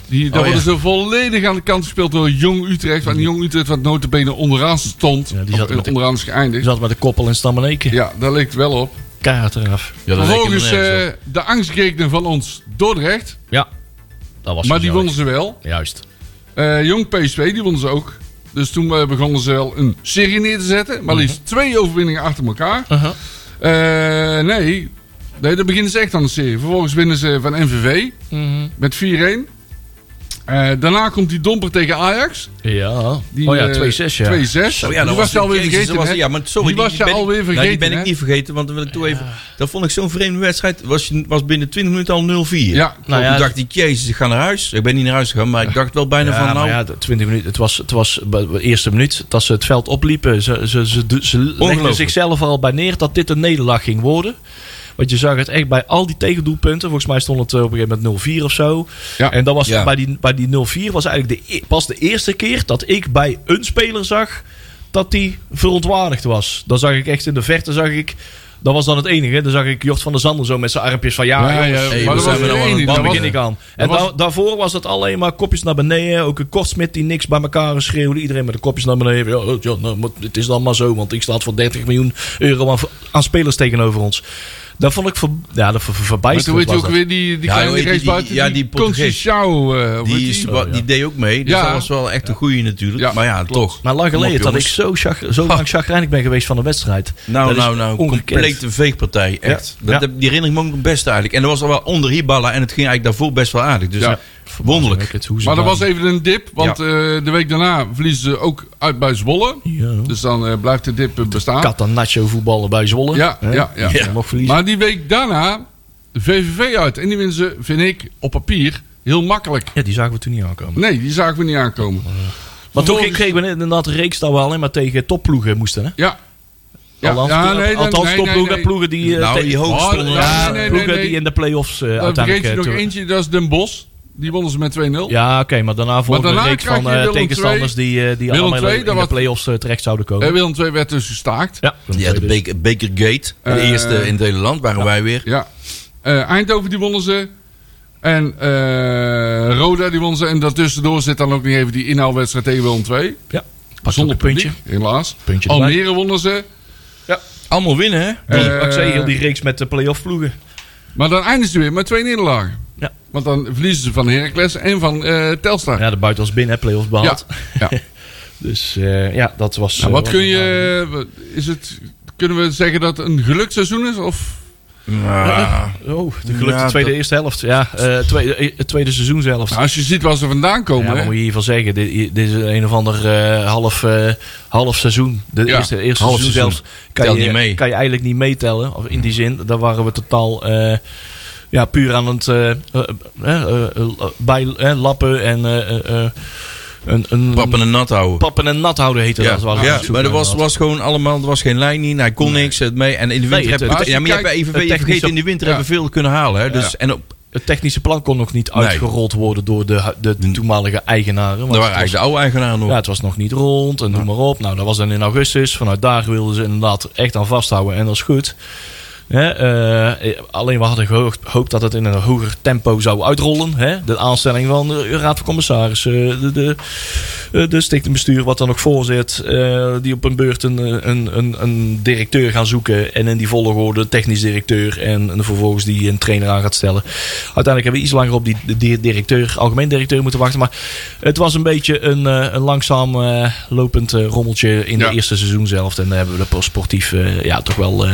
Die, daar
Oh,
worden ze volledig aan de kant gespeeld door Jong Utrecht. En Jong Utrecht wat notabene onderaan stond.
Ja, die zat
Of, eh,
met de-
onderaan is
Je
geëindigd.
zat met de koppel en stammeneken.
Ja, daar leek het wel op.
Kaart eraf.
Ja, dat
Vervolgens
lijkt me nergens op.
eh de angstgekenen van ons Dordrecht.
Ja, dat was
Maar die
gezellig.
wonnen ze wel.
Juist.
Eh, Jong PSV, die wonnen ze ook. Dus toen eh, begonnen ze wel een serie neer te zetten. Maar
Mhm.
liefst twee overwinningen achter elkaar.
Uh-huh.
Eh, nee. nee, dan beginnen ze echt aan de serie. Vervolgens winnen ze van MVV
Mhm.
met 4-1. Eh, daarna komt die domper tegen Ajax.
Ja.
Die,
oh ja, 2-6
eh,
ja.
2-6.
Oh ja,
die
dat
was je
een-
alweer
jezus,
vergeten.
dat was-
hè?
ja, maar sorry,
die was je
ben ik-
alweer
nou,
vergeten.
die ben ik niet vergeten, want dan wil ik toe even. Dat vond ik zo'n vreemde wedstrijd. Was, je- was binnen 20 minuten al 0-4.
Ja,
Nou ja,
Toen dacht ik, jezus, ik ga naar huis. Ik ben niet naar huis gegaan, maar ik dacht wel bijna
Ja,
van nou.
maar ja, de 20 minuten. Het was, het was bij de eerste minuut dat ze het veld opliepen. Ze, ze, ze, ze, ze legden
Ongelooflijk.
zichzelf al bij neer dat dit een nederlaag ging worden. Want je zag het echt bij al die tegendoelpunten. Volgens mij stond het eh, op een gegeven moment 0-4 of zo.
Ja.
En dat was
Ja.
bij die, bij die 0-4 was eigenlijk de, e- pas de eerste keer dat ik bij een speler zag dat die verontwaardigd was. Dan zag ik echt in de verte, zag ik. Dat was dan het enige. Dan zag ik Jort van der Zanden zo met zijn armpjes van ja,
Ja, ja,
jongens,
hey,
maar
we
dat
zijn
was
weer
er
nou aan
één
het
die- dat
babbelen.
daar
was-
begin ik aan. En
dat was-
da- daarvoor was het alleen maar kopjes naar beneden. Ook een kortsmit die niks bij elkaar schreeuwde. Iedereen met de kopjes naar beneden. Ja, ja, nou, moet- het is dan maar zo, want ik sta voor 30 miljoen euro aan, aan spelers tegenover ons. Dat vond ik ver, ja, dat ver, ver-
Maar toen
verbijsterend.
weet je
was
ook
dat.
weer die, die
Ja,
kleine
hoe heet die-
reeks buiten.
die- ja, die Portugees.
Conceição, eh, hoe heet
Die, is-
die?
wa- die deed ook mee. Dus
Ja.
dat was wel echt een goeie natuurlijk.
Ja,
maar ja,
klopt.
toch.
Maar lang geleden
Kom op,
dat ik
jongens.
zo, chag, zo lang chagrijnig ben geweest van de wedstrijd.
Nou,
Dat is
nou, nou,
ongekend.
complete veegpartij, echt.
Ja.
Dat,
Ja.
Die herinnering me ook het beste eigenlijk. En dat was al wel onder Hiballa en het ging eigenlijk daarvoor best wel aardig. Dus
Ja.
wonderlijk.
Het, hoe ze
Maar dat
dan-
was even een dip, want
Ja.
eh, de week daarna verliezen ze ook uit bij Zwolle.
Ja.
Dus dan eh, blijft de dip eh, bestaan.
Catanaccio voetballen bij Zwolle.
Ja,
Hè?
ja, ja.
Die
Ja.
Mocht verliezen.
Maar die week daarna, de VVV uit. En die winnen ze, vind ik, op papier heel makkelijk.
ja, die zagen we toen niet aankomen.
Nee, die zagen we niet aankomen.
Maar toen
Vervolgens-
kregen we inderdaad een reeks dat we alleen maar tegen topploegen moesten. Hè?
Ja. Ja,
Althans,
ja,
toen-
nee, dan-
althans
nee, nee,
topploegen,
nee.
ploegen die, eh,
Nou,
tegen-
die
Oh,
hoogste stonden
ja,
daar.
nee,
ploegen
nee.
die in de play-offs eh,
Dan vergeet
uiteindelijk...
je
eh,
nog
toe-
eentje, dat is Den Bosch. Die wonnen ze met 2-0.
Ja, oké, maar daarna volgde
daarna
een reeks
krijg
van
je
eh,
Willem
tegenstanders die, eh, die
Willem
allemaal
II,
in
dat
de
was-
play-offs eh, terecht zouden komen.
En Willem II werd dus gestaakt.
ja, Willem
Ja,
II
de
dus.
Baker, Bakergate. de
Eh,
eerste in het hele land waren wij weer.
Ja. Eh, Eindhoven die wonnen ze. En eh, Roda die wonnen ze. En daartussendoor zit dan ook nog even die inhaalwedstrijd tegen Willem II.
Ja, pak
Zonder
zonder puntje.
publiek, helaas.
Puntje erbij.
Almere wonnen ze.
Allemaal winnen, hè?
Die,
Eh,
wat ik zei, heel die reeks met de play-off ploegen.
Maar dan eindigen ze weer met twee nederlagen.
Ja.
Want dan verliezen ze van Heracles en van eh, Telstar.
Ja, de buiten als binnen, hè, play-offs
Ja.
behaald.
ja.
Dus eh, ja, dat was...
Nou,
eh,
wat kun je... wat- Is het, kunnen we zeggen dat het een geluksseizoen is? Of, Ah,
Ja.
Oh, de gelukte
Ja,
tweede
dat-
eerste helft. Ja, eh, tweede, eh, tweede seizoenshelft.
nou, als je ziet waar ze vandaan komen.
Ja, maar
hè?
moet je hiervan zeggen? Dit, dit is een of ander eh, half, eh, half seizoen. De
Ja,
eerste, eerste
half
seizoen
seizoen.
zelfs kan
Telt
je,
niet mee.
kan je eigenlijk niet meetellen. Of in die zin, daar waren we totaal eh, ja, puur aan het eh, eh, eh, eh, bij, eh, lappen en eh, eh, eh, een, een
Pappen en nat houden.
pappen en nat houden heette
Ja,
dat. waar we
ja
op zoek
maar er
naar
was,
waren.
was gewoon allemaal, er was geen lijn in, hij kon niks het mee. En in de winter
het-
hebben
als
we,
je
ja, maar je
kijkt-
hebt even
het
vergeten,
technische-
in de winter
Ja.
hebben we veel kunnen halen. Hè? Dus,
Ja.
En op,
Het technische plan kon nog niet uitgerold worden door de, hu- de, de toenmalige eigenaren. want
Dat Mm. waren
het was-
eigenlijk de oude eigenaar nog.
ja, het was nog niet rond en noem maar op. Nou, dat was dan in augustus. Vanuit daar wilden ze inderdaad echt aan vasthouden en dat is goed. Hè, eh, alleen we hadden gehoopt, gehoopt dat het in een hoger tempo zou uitrollen. Hè? De aanstelling van de Raad van Commissarissen, de, de, eh, de stichtingbestuur wat dan ook voorzit. eh, die op een beurt een, eh, een, een, een directeur gaan zoeken. En in die volgorde technisch directeur. En, en vervolgens die een trainer aan gaat stellen. Uiteindelijk hebben we iets langer op die, die directeur, algemeen directeur moeten wachten. Maar het was een beetje een, eh, een langzaam eh, lopend eh, rommeltje in
Ja.
de eerste seizoen zelf. En daar hebben we de sportief eh, ja, toch wel eh,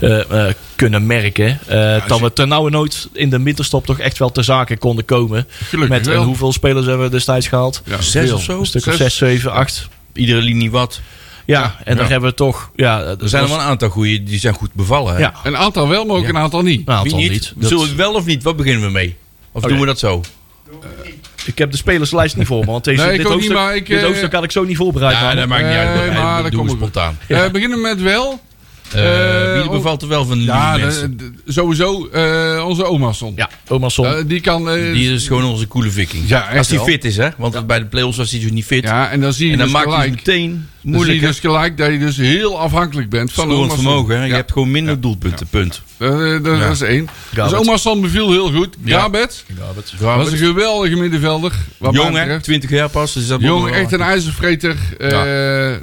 eh, eh, kunnen merken. eh, dat we ten nauwe nooit in de winterstop toch echt wel ter zake konden komen.
Gelukkig
met
wel.
en hoeveel spelers hebben we destijds gehaald?
Ja,
Zes
veel.
of zo?
Een stuk of zes,
Zes.
zeven, acht.
Iedere linie wat.
Ja, en
ja.
dan hebben we toch. Ja,
Er zijn er wel een aantal goede die zijn goed bevallen. Hè?
Ja, Nou,
Een aantal wel, maar ook een aantal Nou, niet.
een
Wie
aantal
niet? Oh,
niet. Dat-
Zullen we het wel of niet? Wat beginnen we mee? Of doen we dat zo?
ik heb de spelerslijst niet voor me, want deze,
Nee, ik
dit,
ook niet,
hoofdstuk,
maar ik,
dit
eh,
hoofdstuk had ik zo niet voorbereid.
Ja,
man.
dat maakt niet uit.
Nee,
Dat-
Eh, maar
dat
dat
doen we
komt goed.
spontaan.
Eh, beginnen we met wel.
Eh, wie
oh,
bevalt er wel van de
Ja,
linie
de-
mensen?
de- sowieso eh, onze oma stond.
ja, oma Son.
Eh, die kan... eh,
Die is gewoon onze coole viking.
Ja, echt
Als die
wel.
fit is, hè? Want bij de play-offs was hij dus niet fit.
ja, en dan zie je
en dan
dus
maakt hij
gelijk...
het meteen
Dan zie je
moeilijk.
dus gelijk dat je dus heel afhankelijk bent van
Scorend
oma Son.
vermogen, hè? Je
Ja,
hebt gewoon minder doelpunten, punt.
dat, dat- dat
Ja.
is één. Dus
Gabert.
oma Son beviel heel goed.
Ja.
Gabet was
Jong,
een geweldige middenvelder. Wat mij
hè?
betreft.
20 jaar pas. Dus dat moet
Jong,
wel-
echt een ijzervreter. eh,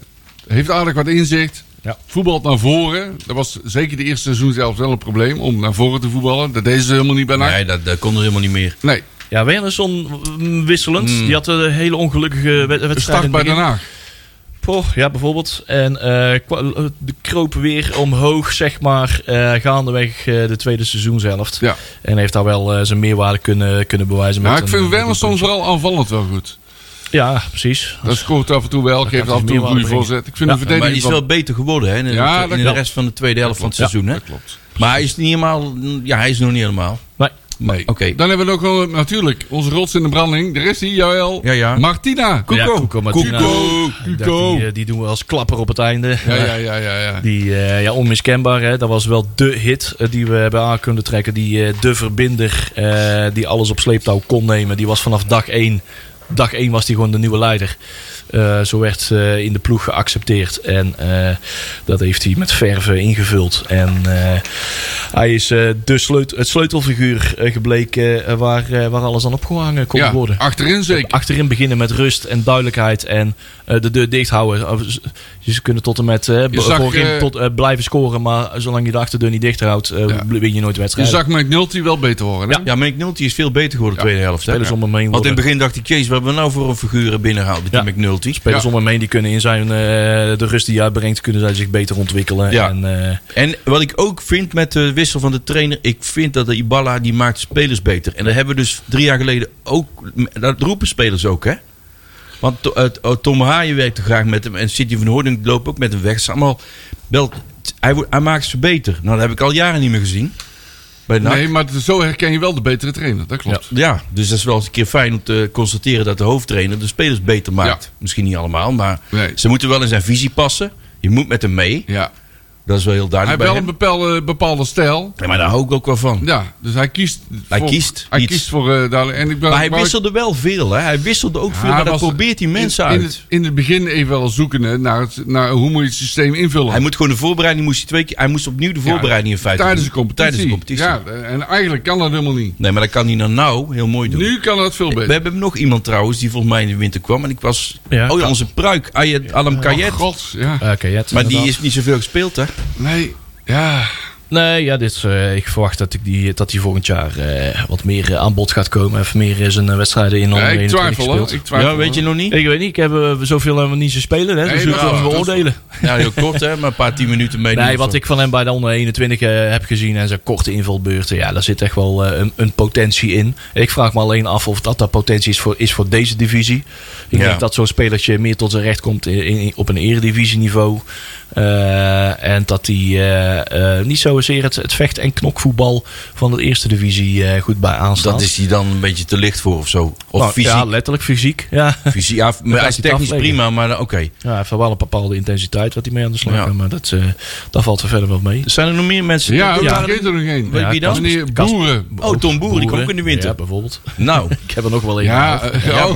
Heeft aardig wat inzicht.
Ja.
Voetbalt naar voren. Dat was zeker de eerste seizoen zelf wel een probleem om naar voren te voetballen. Dat deden ze helemaal niet bij NAC.
Nee, dat, dat kon er helemaal niet meer.
Nee,
Ja, Wernerson mm, wisselend. Die had een hele ongelukkige wed- wedstrijd. in
start
het
bij
begin.
Den Haag.
Poh, ja, bijvoorbeeld. En eh, kwa- eh, de kroop weer omhoog, zeg maar, eh, gaandeweg eh, de tweede seizoenshelft.
Ja.
En heeft daar wel eh, zijn meerwaarde kunnen, kunnen bewijzen.
Maar
met
Nou, ik
een-
vind
met een
Wernerson
doelpuntje.
vooral aanvallend wel goed.
Ja, precies.
Dat scoort af en toe wel, geeft
hij
dus
af en toe een
meer
goede
aanbrengen.
voorzet. Ik vind de
Maar hij
verdediging
is
van...
wel beter geworden hè, in, de-
Ja,
in
dat
de
klopt.
rest van de tweede helft van het
Ja,
seizoen. Hè?
Dat klopt.
Maar hij is niet helemaal. Ja, hij is nog niet helemaal.
Nee.
Nee.
Oké.
Dan hebben we ook wel, eh, natuurlijk onze rots in de branding. Daar is hij, Joël.
Ja, ja.
Martina.
Ja, Cuco Martina.
Cuco.
Ik dacht, Die, eh, die doen we als klapper op het einde.
eh,
Ja, ja, ja, ja. ja.
Die, eh, ja, onmiskenbaar. Hè? Dat was wel de hit eh, die we hebben aan kunnen trekken. Die, eh, de verbinder eh, die alles op sleeptouw kon nemen. Die was vanaf dag 1. Dag 1 was die gewoon de nieuwe leider. Eh, zo werd eh, in de ploeg geaccepteerd. En eh, dat heeft hij met verve ingevuld. En eh, hij is eh, de sleutel, het sleutelfiguur eh, gebleken eh, waar, eh, waar alles aan opgehangen kon
Ja,
worden.
achterin zeker.
Achterin beginnen met rust en duidelijkheid en eh, de deur dicht houden. Of ze- Ze kunnen tot en met eh, b-
zag,
voorin
eh,
tot, eh, blijven scoren, maar zolang je de achterdeur niet dicht houdt, eh,
Ja.
win je nooit
Je
wedstrijden.
zag McNulty wel beter worden. hè?
Ja, McNulty is veel beter geworden de tweede helft. Hè?
Spelers om hem heen
Want in
worden.
het begin dacht ik, Kees, wat hebben we nou voor een figuren binnengehaald met die
Ja.
McNulty?
Spelers
Ja.
om hem heen die kunnen in zijn, eh, de rust die je uitbrengt, kunnen zij zich beter ontwikkelen.
Ja.
En, eh,
En wat ik ook vind met de wissel van de trainer, ik vind dat de Ibala die maakt spelers beter. En dat hebben we dus drie jaar geleden ook. Dat roepen spelers ook, hè? Want to- eh, eh, Tom Haaien werkte graag met hem en City van Hoording loopt ook met hem weg. Het is allemaal wel, hij, wordt- hij maakt ze beter. Nou, dat heb ik al jaren niet meer gezien. Bij NAC.
Nee, maar zo herken je wel de betere trainer. Dat klopt.
Ja, dus dat is wel eens een keer fijn om te constateren dat de hoofdtrainer de spelers beter maakt.
Ja.
Misschien niet allemaal, maar
Nee.
ze moeten wel in zijn visie passen. Je moet met hem mee.
Ja.
Dat is wel heel
Hij heeft
duidelijk.
wel
bij
een
hem.
bepaalde, bepaalde stijl.
Ja, maar daar hou ik ook wel van.
Ja, dus hij kiest.
Hij
voor,
kiest
Hij
iets.
kiest voor. eh dadelijk- en ik ben,
Maar hij
wou-
wisselde wel veel, hè? Hij wisselde ook
Ja,
veel, Ah, maar
hij
dan
was-
probeert hij mensen
in,
uit.
In het, in het begin even wel zoekende naar, het, naar hoe moet je het systeem invullen.
Hij moet gewoon de voorbereiding, moest hij twee keer, hij moest opnieuw de
Ja,
voorbereiding in feite
Tijdens de
doen.
competitie.
Tijdens de competitie.
Ja, en eigenlijk kan dat helemaal niet.
Nee, maar dat kan hij dan nou heel mooi doen.
Nu kan dat veel
we
beter.
hebben nog iemand trouwens die volgens mij in de winter kwam. En ik was.
Ja.
Oh ja, onze pruik, Ayet, Alam Kayet.
Oh, God, ja.
oké, ja, het
maar die
inderdaad.
is niet zoveel gespeeld, hè?
Nee, ja.
Nee, ja, dit, is, eh, ik verwacht dat, ik die, dat die volgend jaar eh, wat meer eh, aan bod gaat komen. Even meer eh, zijn eh, wedstrijden in
Ja,
onder
ik
21
twijfel hoor.
gespeeld.
Ik twijfel,
ja, weet je
hoor.
nog niet?
Ik weet niet, ik heb eh, zoveel helemaal niet zo spelen, hè, dus
Nee,
hoe
nou,
kunnen we
dat is-
beoordelen?
Ja, heel kort, hè? Maar een paar tien minuten mee.
Nee, wat ik van hem bij de onder 21 eh, heb gezien en zijn korte invalbeurten, ja, daar zit echt wel eh, een, een potentie in. Ik vraag me alleen af of dat dat potentie is voor, is voor deze divisie. Ik
Ja.
denk dat zo'n spelertje meer tot zijn recht komt in, in- op een eredivisieniveau. Eh, en dat hij eh, eh, niet zo zeer het, het vecht- en knokvoetbal van de eerste divisie eh, goed bij aanstaan.
Dat is hij dan een beetje te licht voor of zo. Of
Nou,
fysiek.
Ja, letterlijk fysiek. Ja.
fysiek ja, maar
gaat
hij is
hij
technisch
afleggen.
prima, maar oké.
Ja, hij heeft wel een bepaalde intensiteit wat hij mee aan de slag
Ja. Dus
kan, maar dat, eh dat valt er verder wel mee.
Zijn er nog meer mensen?
Ja,
Die
ik
waren-
vergeet er nog één.
Weet wie dan?
Meneer
Kasper.
Boeren.
Oh, Tom Boer, die kwam ook in de winter.
Ja, bijvoorbeeld.
Nou,
Ik heb er nog wel een.
Ja, eh, oh,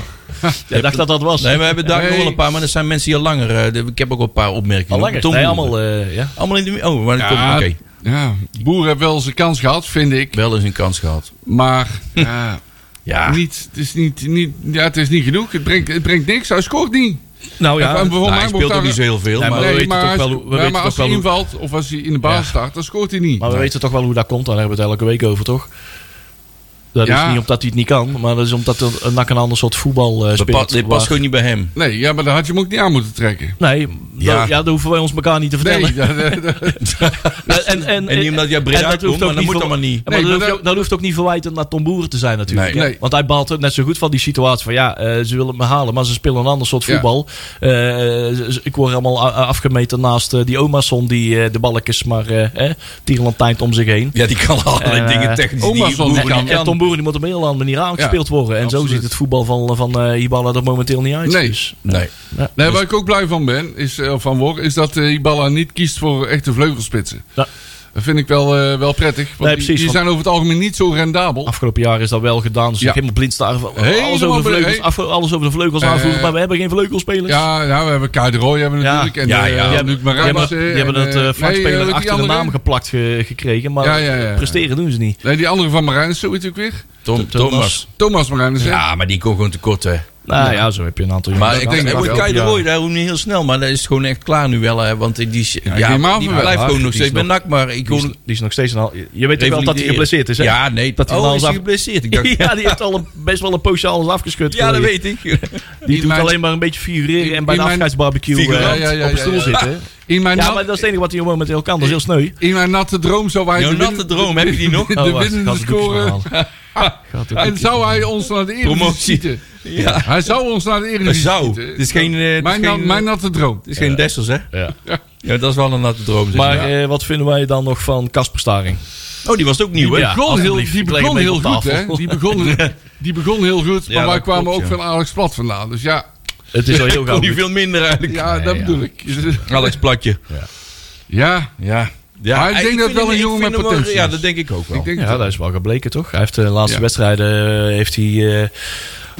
Jij dacht dat dat was.
nee, we hebben daar nog wel
Nee.
een paar, maar er zijn mensen die al langer. eh, de- ik heb ook wel een paar opmerkingen.
Al langer.
Tom
Nee,
Boer.
allemaal, eh, ja.
Oh, Allemaal in de. Oh, maar Tom, oké.
ja, ja, Boer heeft wel zijn kans gehad, vind ik.
Wel eens een kans gehad.
Maar ja,
Ja.
Nou
niet, het, is niet, niet, ja, het is niet genoeg. Het brengt, het brengt niks. Hij scoort niet.
Nou ja,
En bijvoorbeeld
Nou,
mij
hij
wordt
speelt ook
daar-
niet zo heel veel.
Nee,
maar
we
Nee,
weten
maar
toch
als-
wel hoe- we
ja,
weten
maar
toch
als
wel
hij
hoe-
invalt of als hij in de baas staat, dan scoort hij niet.
maar we weten toch wel hoe dat komt. Daar hebben we het elke week over, toch? Dat
Ja.
is niet omdat hij het niet kan, maar dat is omdat er een, NAC een ander soort voetbal eh,
dat
speelt.
past- dit
waar-
past gewoon niet bij hem.
Nee, ja, maar daar had je hem ook niet aan moeten trekken.
Nee,
Ja.
ja. ja, dat hoeven wij ons elkaar niet te vertellen.
Nee, dat- dat- dat-
En, en, en,
En niet omdat jij Breda
en dat
komt,
hoeft
maar
ook
dat moet
ver-
allemaal niet.
Ja, maar
Nee,
dat,
maar
hoeft, ook- dat hoeft ook niet verwijtend naar Tom Boeren te zijn natuurlijk.
Nee.
Nee.
Want hij baalt het net zo goed van die situatie van ja, eh, ze willen me halen, maar ze spelen een ander soort
Ja.
voetbal. Eh, ze- ze- ik word helemaal a- a- afgemeten naast eh, die Omason die eh, de balkjes maar eh, eh, tierenlantijnt om zich heen.
Ja, die kan allerlei
Eh,
dingen technisch
Oma
die
zal
Boer
niet
En,
niet
en,
kan.
en Tom Boeren die moet op een heel andere manier aangespeeld worden. En zo
absoluut.
ziet het voetbal van, van eh, Hibala er momenteel niet uit.
Nee.
Dus,
Nee.
Nee, waar ik ook blij van ben, is, eh, van word, is dat eh, Ibala niet kiest voor echte vleugelspitsen.
Ja.
Dat vind ik wel, eh, wel prettig. Want
Nee,
die-
precies,
die,
want-
zijn over het algemeen niet zo rendabel.
Afgelopen jaar is dat wel gedaan. Dus
Ja.
helemaal blind staren. van Alles
Helemaal
over de
blind,
vleugels,
hè? Eh,
afge- alles over de vleugels aanvoeren. Maar we hebben geen vleugelspelers.
Ja, nou, we hebben Kai de Roy hebben we
Ja.
natuurlijk. En,
Ja,
ja,
ja.
ja.
Die
Luc
hebben, die hebben,
Marabas.
die
eh,
hebben
en,
het
eh,
eh,
nee,
vlakspeler
eh, weet
achter de
die
naam
andere?
geplakt ge- gekregen. Maar
Ja, ja, ja.
presteren doen ze niet.
Nee, die andere van Marijnus, hoe heet hij ook weer?
Tom,
Thomas.
Thomas.
Thomas Marijnus, hè?
Ja, maar die kon gewoon tekort, hè.
Nou ja, zo heb je een aantal jongens.
Maar ik
denk
denk dat
dat wel.
Kai de
Ja.
Roy, daar hoeft niet heel snel. Maar dat is gewoon echt klaar nu wel. Hè, want die, is- ja,
die maar
die
wel.
blijft
Ja,
gewoon
die
nog
is
steeds bij
nog-
NAC. Maar ik
die, is,
kon...
die is nog steeds een al- Je weet toch wel dat hij
revalideren.
geblesseerd is, hè?
Ja, nee.
Dat hij
oh,
alles
is hij
af-
geblesseerd? Ik dacht,
Ja, die heeft al een, best wel een poosje alles afgeschud.
ja, dat
geleden.
weet ik.
Die
In
doet
mijn-
alleen maar een beetje figureren en bij de
in mijn-
afscheidsbarbecue eh,
Figurant.
Ja, ja, ja,
op een
ja,
stoel
ja.
zitten. hè?
In mijn,
Ja,
nat-
maar dat is het enige wat hij op momenteel kan. Dat is heel sneu.
in mijn natte droom zou hij
Jouw
de
natte
win-
droom, heb je die nog?
de
Oh, wacht,
winnende
gaat de doekjes
scoren.
maar halen. Gaat de
En
doekjes
zou
maar
hij ons naar de Eredivisie
Promotie.
schieten?
Ja.
Hij zou ons naar de Eredivisie
Zou.
schieten.
Het is geen, eh, het is
mijn, na-
geen,
mijn natte droom.
Het is geen Dessels, hè?
halen. Ja.
Ja, dat is wel een natte droom. zeg
Maar
je.
eh, wat vinden wij dan nog van Casper Staring?
oh, die was het ook nieuw, hè?
Ja.
begon heel,
alsjeblieft,
die
ik leg hem
begon
even
heel
op
goed,
tafel.
hè? Die begon, die begon heel goed, maar
Ja,
wij
dat
kwamen
klopt,
ook
ja.
van Alex Plat vandaan. Dus ja,
Het is al heel
Kon
gauw.
die veel minder eigenlijk.
ja dat
ja.
bedoel ik.
Alex Platje.
Ja,
Ja. ja.
Maar ik denk
vind
dat wel
hem-
een
ik
jongen
vind
met
hem wel-
potentie
Ja,
is.
dat denk ik ook wel.
ik denk
Ja,
dat-
dat is wel gebleken, toch? Hij heeft de laatste
Ja.
wedstrijden... eh, heeft hij, eh,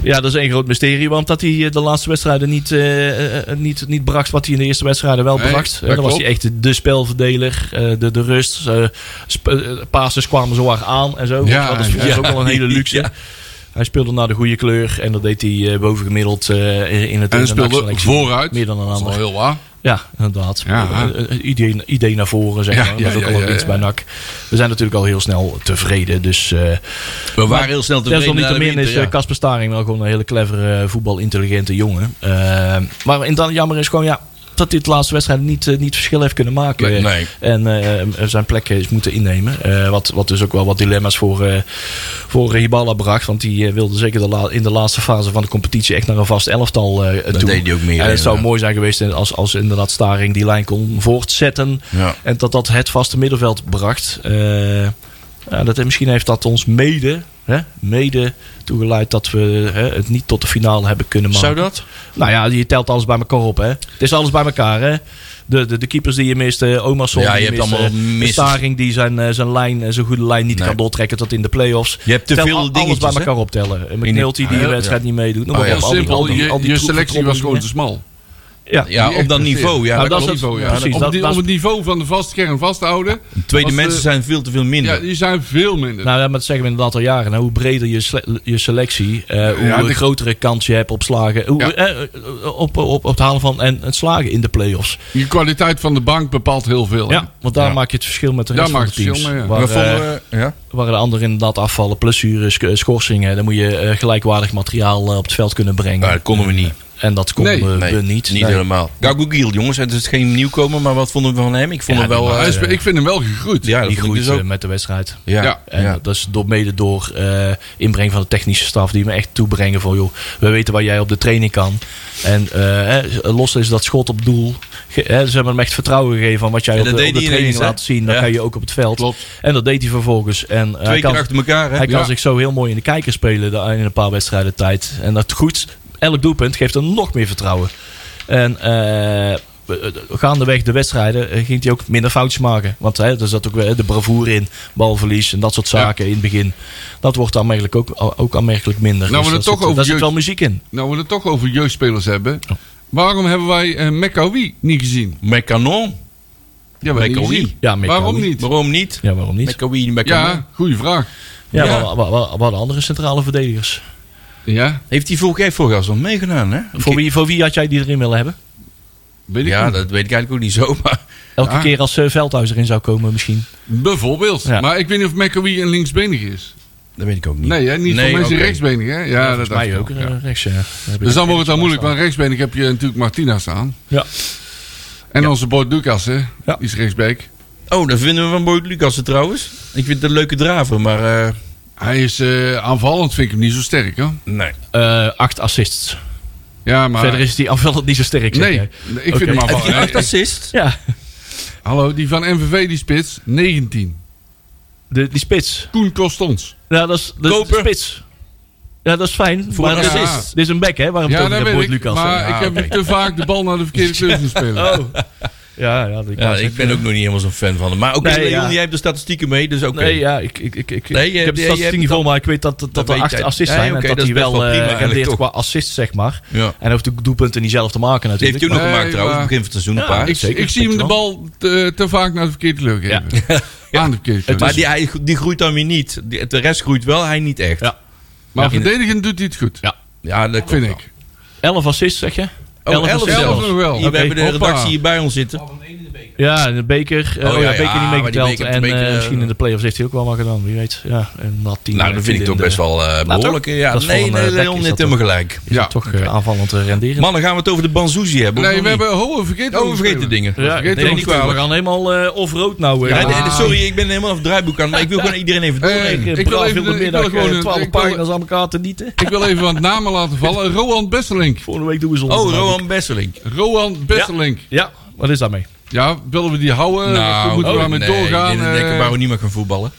ja, dat is één groot mysterie. Want dat hij eh, de laatste wedstrijden niet, eh, eh, eh, niet, niet bracht wat hij in de eerste wedstrijden wel
Nee,
bracht.
dat
Eh, dan was hij
klopt.
echt de, de spelverdeler. eh, de, de rust. eh sp- eh, passes kwamen zo hard aan en zo.
Ja,
dat is voor ons
ja.
ook wel een hele luxe.
Ja.
Hij speelde naar de goede kleur. En dat deed hij eh, bovengemiddeld eh, in het
En
in de
speelde
NAC-selectie.
vooruit.
Meer dan een
Dat is
ander.
wel heel waar.
Ja, inderdaad.
Ja.
Eh, eh, idee, idee naar voren, zeg
Ja,
maar.
ja,
dat is ook
ja,
al een
ja,
winst
ja.
bij NAC. We zijn natuurlijk al heel snel tevreden. Dus eh
We waren heel snel tevreden na de
desalniettemin
winter,
is
ja.
eh, Casper Staring wel gewoon een hele clevere, eh, voetbalintelligente jongen. Eh, maar en dan jammer is gewoon, ja... Dat dit de laatste wedstrijd niet, eh, niet verschil heeft kunnen maken.
Nee, nee.
En eh, zijn plek is moeten innemen. Eh, wat, wat dus ook wel wat dilemma's voor, eh voor Hibala bracht. Want die eh, wilde zeker de la- in de laatste fase van de competitie echt naar een vast elftal eh toe.
deed hij ook meer,
En het zou
ja.
mooi zijn geweest als, als inderdaad Staring die lijn kon voortzetten.
Ja.
En dat dat het vaste middenveld bracht. Eh, ja, dat, misschien heeft dat ons mede, hè, mede toegeleid dat we hè, het niet tot de finale hebben kunnen maken.
Zou dat?
Nou ja, je telt alles bij elkaar op. Hè. Het is alles bij elkaar. Hè. De, de, de keepers die je mist, eh, Omarsson
Ja, je
die
hebt
mist,
allemaal
eh,
mist.
Staring die zijn, eh, zijn, lijn, eh, zijn goede lijn niet
Nee.
kan doortrekken tot in de play-offs.
Je hebt te
Tel
veel
al- alles bij
dingetjes,
elkaar optellen. En
In de-
McNulty die
Ja,
de
ja.
wedstrijd niet meedoet. Noem
Oh,
maar
ja.
op,
Heel
al die-
simpel,
al die- al
je,
die
je
troep-
selectie was gewoon te
dingen.
smal.
Ja,
Ja,
Die
op dat
echt
niveau. Ja, dat
Nou, dat
klopt.
is-
Niveau, ja.
precies,
Op
dat-
die-
dat-
Om het niveau van de vaste kern vast te houden.
Tweede
was,
mensen
eh,
zijn veel te veel minder.
Ja, die zijn veel minder.
Nou ja, maar dat zeggen we inderdaad al jaren. hè. Hoe breder je, sele- je selectie, eh, hoe
Ja, die-
grotere kans je hebt op slagen. Hoe,
Ja.
eh, op, op, op het halen van en het slagen in de play-offs.
Die kwaliteit van de bank bepaalt heel veel. hè?
Ja, want daar
Ja.
maak je het verschil met de rest van
Daar
de
maakt het
teams.
verschil mee, ja.
We
waar, eh,
vonden, eh, ja.
waar de anderen inderdaad afvallen, blessures, sk- schorsingen. Dan moet je eh, gelijkwaardig materiaal eh, op het veld kunnen brengen.
Nou, dat konden we niet.
En dat konden
Nee,
we
Niet
niet. Nee.
helemaal. Gago Giel, jongens. Het is geen nieuwkomer, maar wat vonden we van hem? Ik vond
Ja,
hem wel...
die
Oh, Hij
eh,
is- ik vind hem wel gegroeid.
ja, dat
Niet
vond ik
goed
dus ook.
eh, met de wedstrijd.
Ja, ja.
Ja.
En dat is door, mede door eh, inbreng van de technische staf die me echt toebrengen van joh, we weten waar jij op de training kan. En eh, eh, los is dat schot op doel. Ge- eh, ze hebben hem echt vertrouwen gegeven van wat jij
Ja,
op de,
dat
op de
deed hij
training
ineens, hè?
laat zien. Dat
Ja.
kan je ook op het veld.
Klopt.
En dat deed hij vervolgens. En, eh, hij
Twee
kan,
keer achter elkaar, hè?
hij kan
Ja.
zich zo heel mooi in de kijker spelen da- in een paar wedstrijden tijd. En dat goed, elk doelpunt geeft hem nog meer vertrouwen. En eh, gaandeweg de wedstrijden eh, ging hij ook minder foutjes maken. Want hè, er zat ook weer, hè, de bravoure in, balverlies en dat soort zaken in het begin. Dat wordt aanmerkelijk ook, a- ook aanmerkelijk minder. Dus
Nou, we
dat
het toch
zit,
over
daar zit
jeugd-
wel muziek in.
Nou, we het toch over jeugdspelers hebben.
Oh.
Waarom hebben wij eh Mekawi niet gezien?
Met Canon?
Ja, we hebben
Mekawi.
niet gezien.
Ja, Mekawi.
Waarom niet?
Waarom niet?
Ja, waarom niet?
Met Kawi, met Canon.
Ja, goede vraag.
Ja,
Ja.
We, we- we- we hadden andere centrale verdedigers.
Ja,
Heeft hij vorige keer voor ons nog meegedaan, hè?
Voor wie, voor wie had jij die erin willen hebben?
weet ik
Ja,
niet.
dat weet ik eigenlijk ook niet zo, maar...
Elke
Ja.
keer als eh, Veldhuis erin zou komen misschien.
Bijvoorbeeld.
Ja.
Maar ik weet niet of Mekawi een linksbenig is.
Dat weet ik ook niet.
Nee, hè? niet voor mensen
oké.
rechtsbenig. Hè? Ja, dat dacht ik
Mij ook
al.
eh,
Ja.
rechts. ja. Heb ik
Dus dan
ook
wordt het al moeilijk.
staan.
Want rechtsbenig heb je natuurlijk Martina staan.
Ja.
En onze boy Lucas, hè?
Ja.
Die is rechtsbeek.
Oh, dat vinden we van Boyd Lucassen trouwens. Ik vind het een leuke draver, maar... eh,
Hij is eh, aanvallend, vind ik hem niet zo sterk, hoor.
nee.
Eh, acht assists.
Ja, maar...
Verder is die aanvallend niet zo sterk. zeg
Nee,
jij.
ik vind
Oké.
hem
Heb je
aanvallend.
acht
Eh, eh,
assist?
Ja,
Hallo, die van MVV, die spits, 19.
de, die spits.
Koen Costons.
Ja, dat is de,
Koper.
spits. Ja, dat is fijn.
Voor
maar
een
dit is,
assist.
dit is een bek, hè? Waarom
Ja,
ja,
dat
dat
weet
wordt
ik.
Lucas?
maar
Ah,
ja,
ik heb
oké.
te vaak de bal naar de verkeerde kleur zien spelen.
Oh,
ja, ja, dat ik
Ja,
wou
ik
zeggen.
ben ook nog niet helemaal zo'n fan van hem. Maar oké,
Nee,
Leon,
ja.
jij hebt de statistieken mee, dus oké.
Nee, ja, ik, ik, ik, ik,
Nee,
ik
je- je-
heb de
je
statistiek
hebt
niet vol,
het
maar ik weet dat, dat, dat
weet
er acht
jij.
assists
Ja,
zijn.
oké,
en
dat
dat
is
hij
best
wel
wel
eh,
prima eigenlijk,
rendeert
toch?
qua assists, zeg maar.
Ja.
En hij hoeft ook doelpunten niet zelf te
Die
maken
heeft
natuurlijk.
hij ook nog
Nee,
gemaakt trouwens,
maar-
begin van het seizoen een
Ja,
paar.
ik,
zeker,
ik zie hem de
wel.
bal te, te vaak naar de verkeerde kleur geven. Aan de verkeerde kleur.
Maar die, hij- die groeit dan weer niet. Die- de rest groeit wel, hij niet echt.
Ja.
Maar
Ja.
verdedigend doet hij het goed,
Ja, dat
vind
klopt
ik.
Elf assists, zeg je?
wel. Oh,
Elf
11
assists.
zelf.
zelfs.
nog wel.
Hier,
Oké,
We hebben de
hoppa.
redactie hier bij ons zitten.
Ja, en de beker. eh,
Oh,
oh
ja,
ja, beker
ja,
niet
maar die
meegeteld.
beker heeft
En
de beker,
eh,
eh,
misschien in de play-offs heeft hij ook wel wat gedaan, wie weet. Ja, en had tien,
Nou,
eh,
dat vind ik
tien
toch
in de-
best wel eh, behoorlijk. Ja,
Dat is
nee,
voor een,
nee,
eh, bek
Leon
is
heeft
dat
helemaal
toch?
gelijk.
Is
Ja.
het toch eh, aanvallend eh, renderend.
Mannen, gaan we het over de Banzuzi hebben? of
Nee,
nog
we
niet?
hebben... Oh, we vergeten
Oh, we vergeten
spelen.
dingen.
Ja,
Vergeet
nee,
hem
niet
niet
kwalijk.
kwalijk.
We gaan helemaal eh, off-road nou. eh.
Ja, nee,
Ja,
nee, sorry, ik ben helemaal af het draaiboek aan. Maar ik wil gewoon iedereen even
Eh,
doornemen.
ik wil
braaf
even-
in de
ik wil
middag,
gewoon
eh,
een-
12
ik wil-
pagina's aan elkaar te nieten.
Ik wil even wat namen laten vallen. Roan Besselink.
Volgende week doen we ze
Oh,
onderaan.
Rohan Besselink.
Roan Besselink.
Ja, wat is daarmee?
Ja, willen we die houden? Of moeten Nou, we
oh,
daarmee
nee,
doorgaan?
Ik denk dat
Eh,
Bauer niet meer gaan voetballen.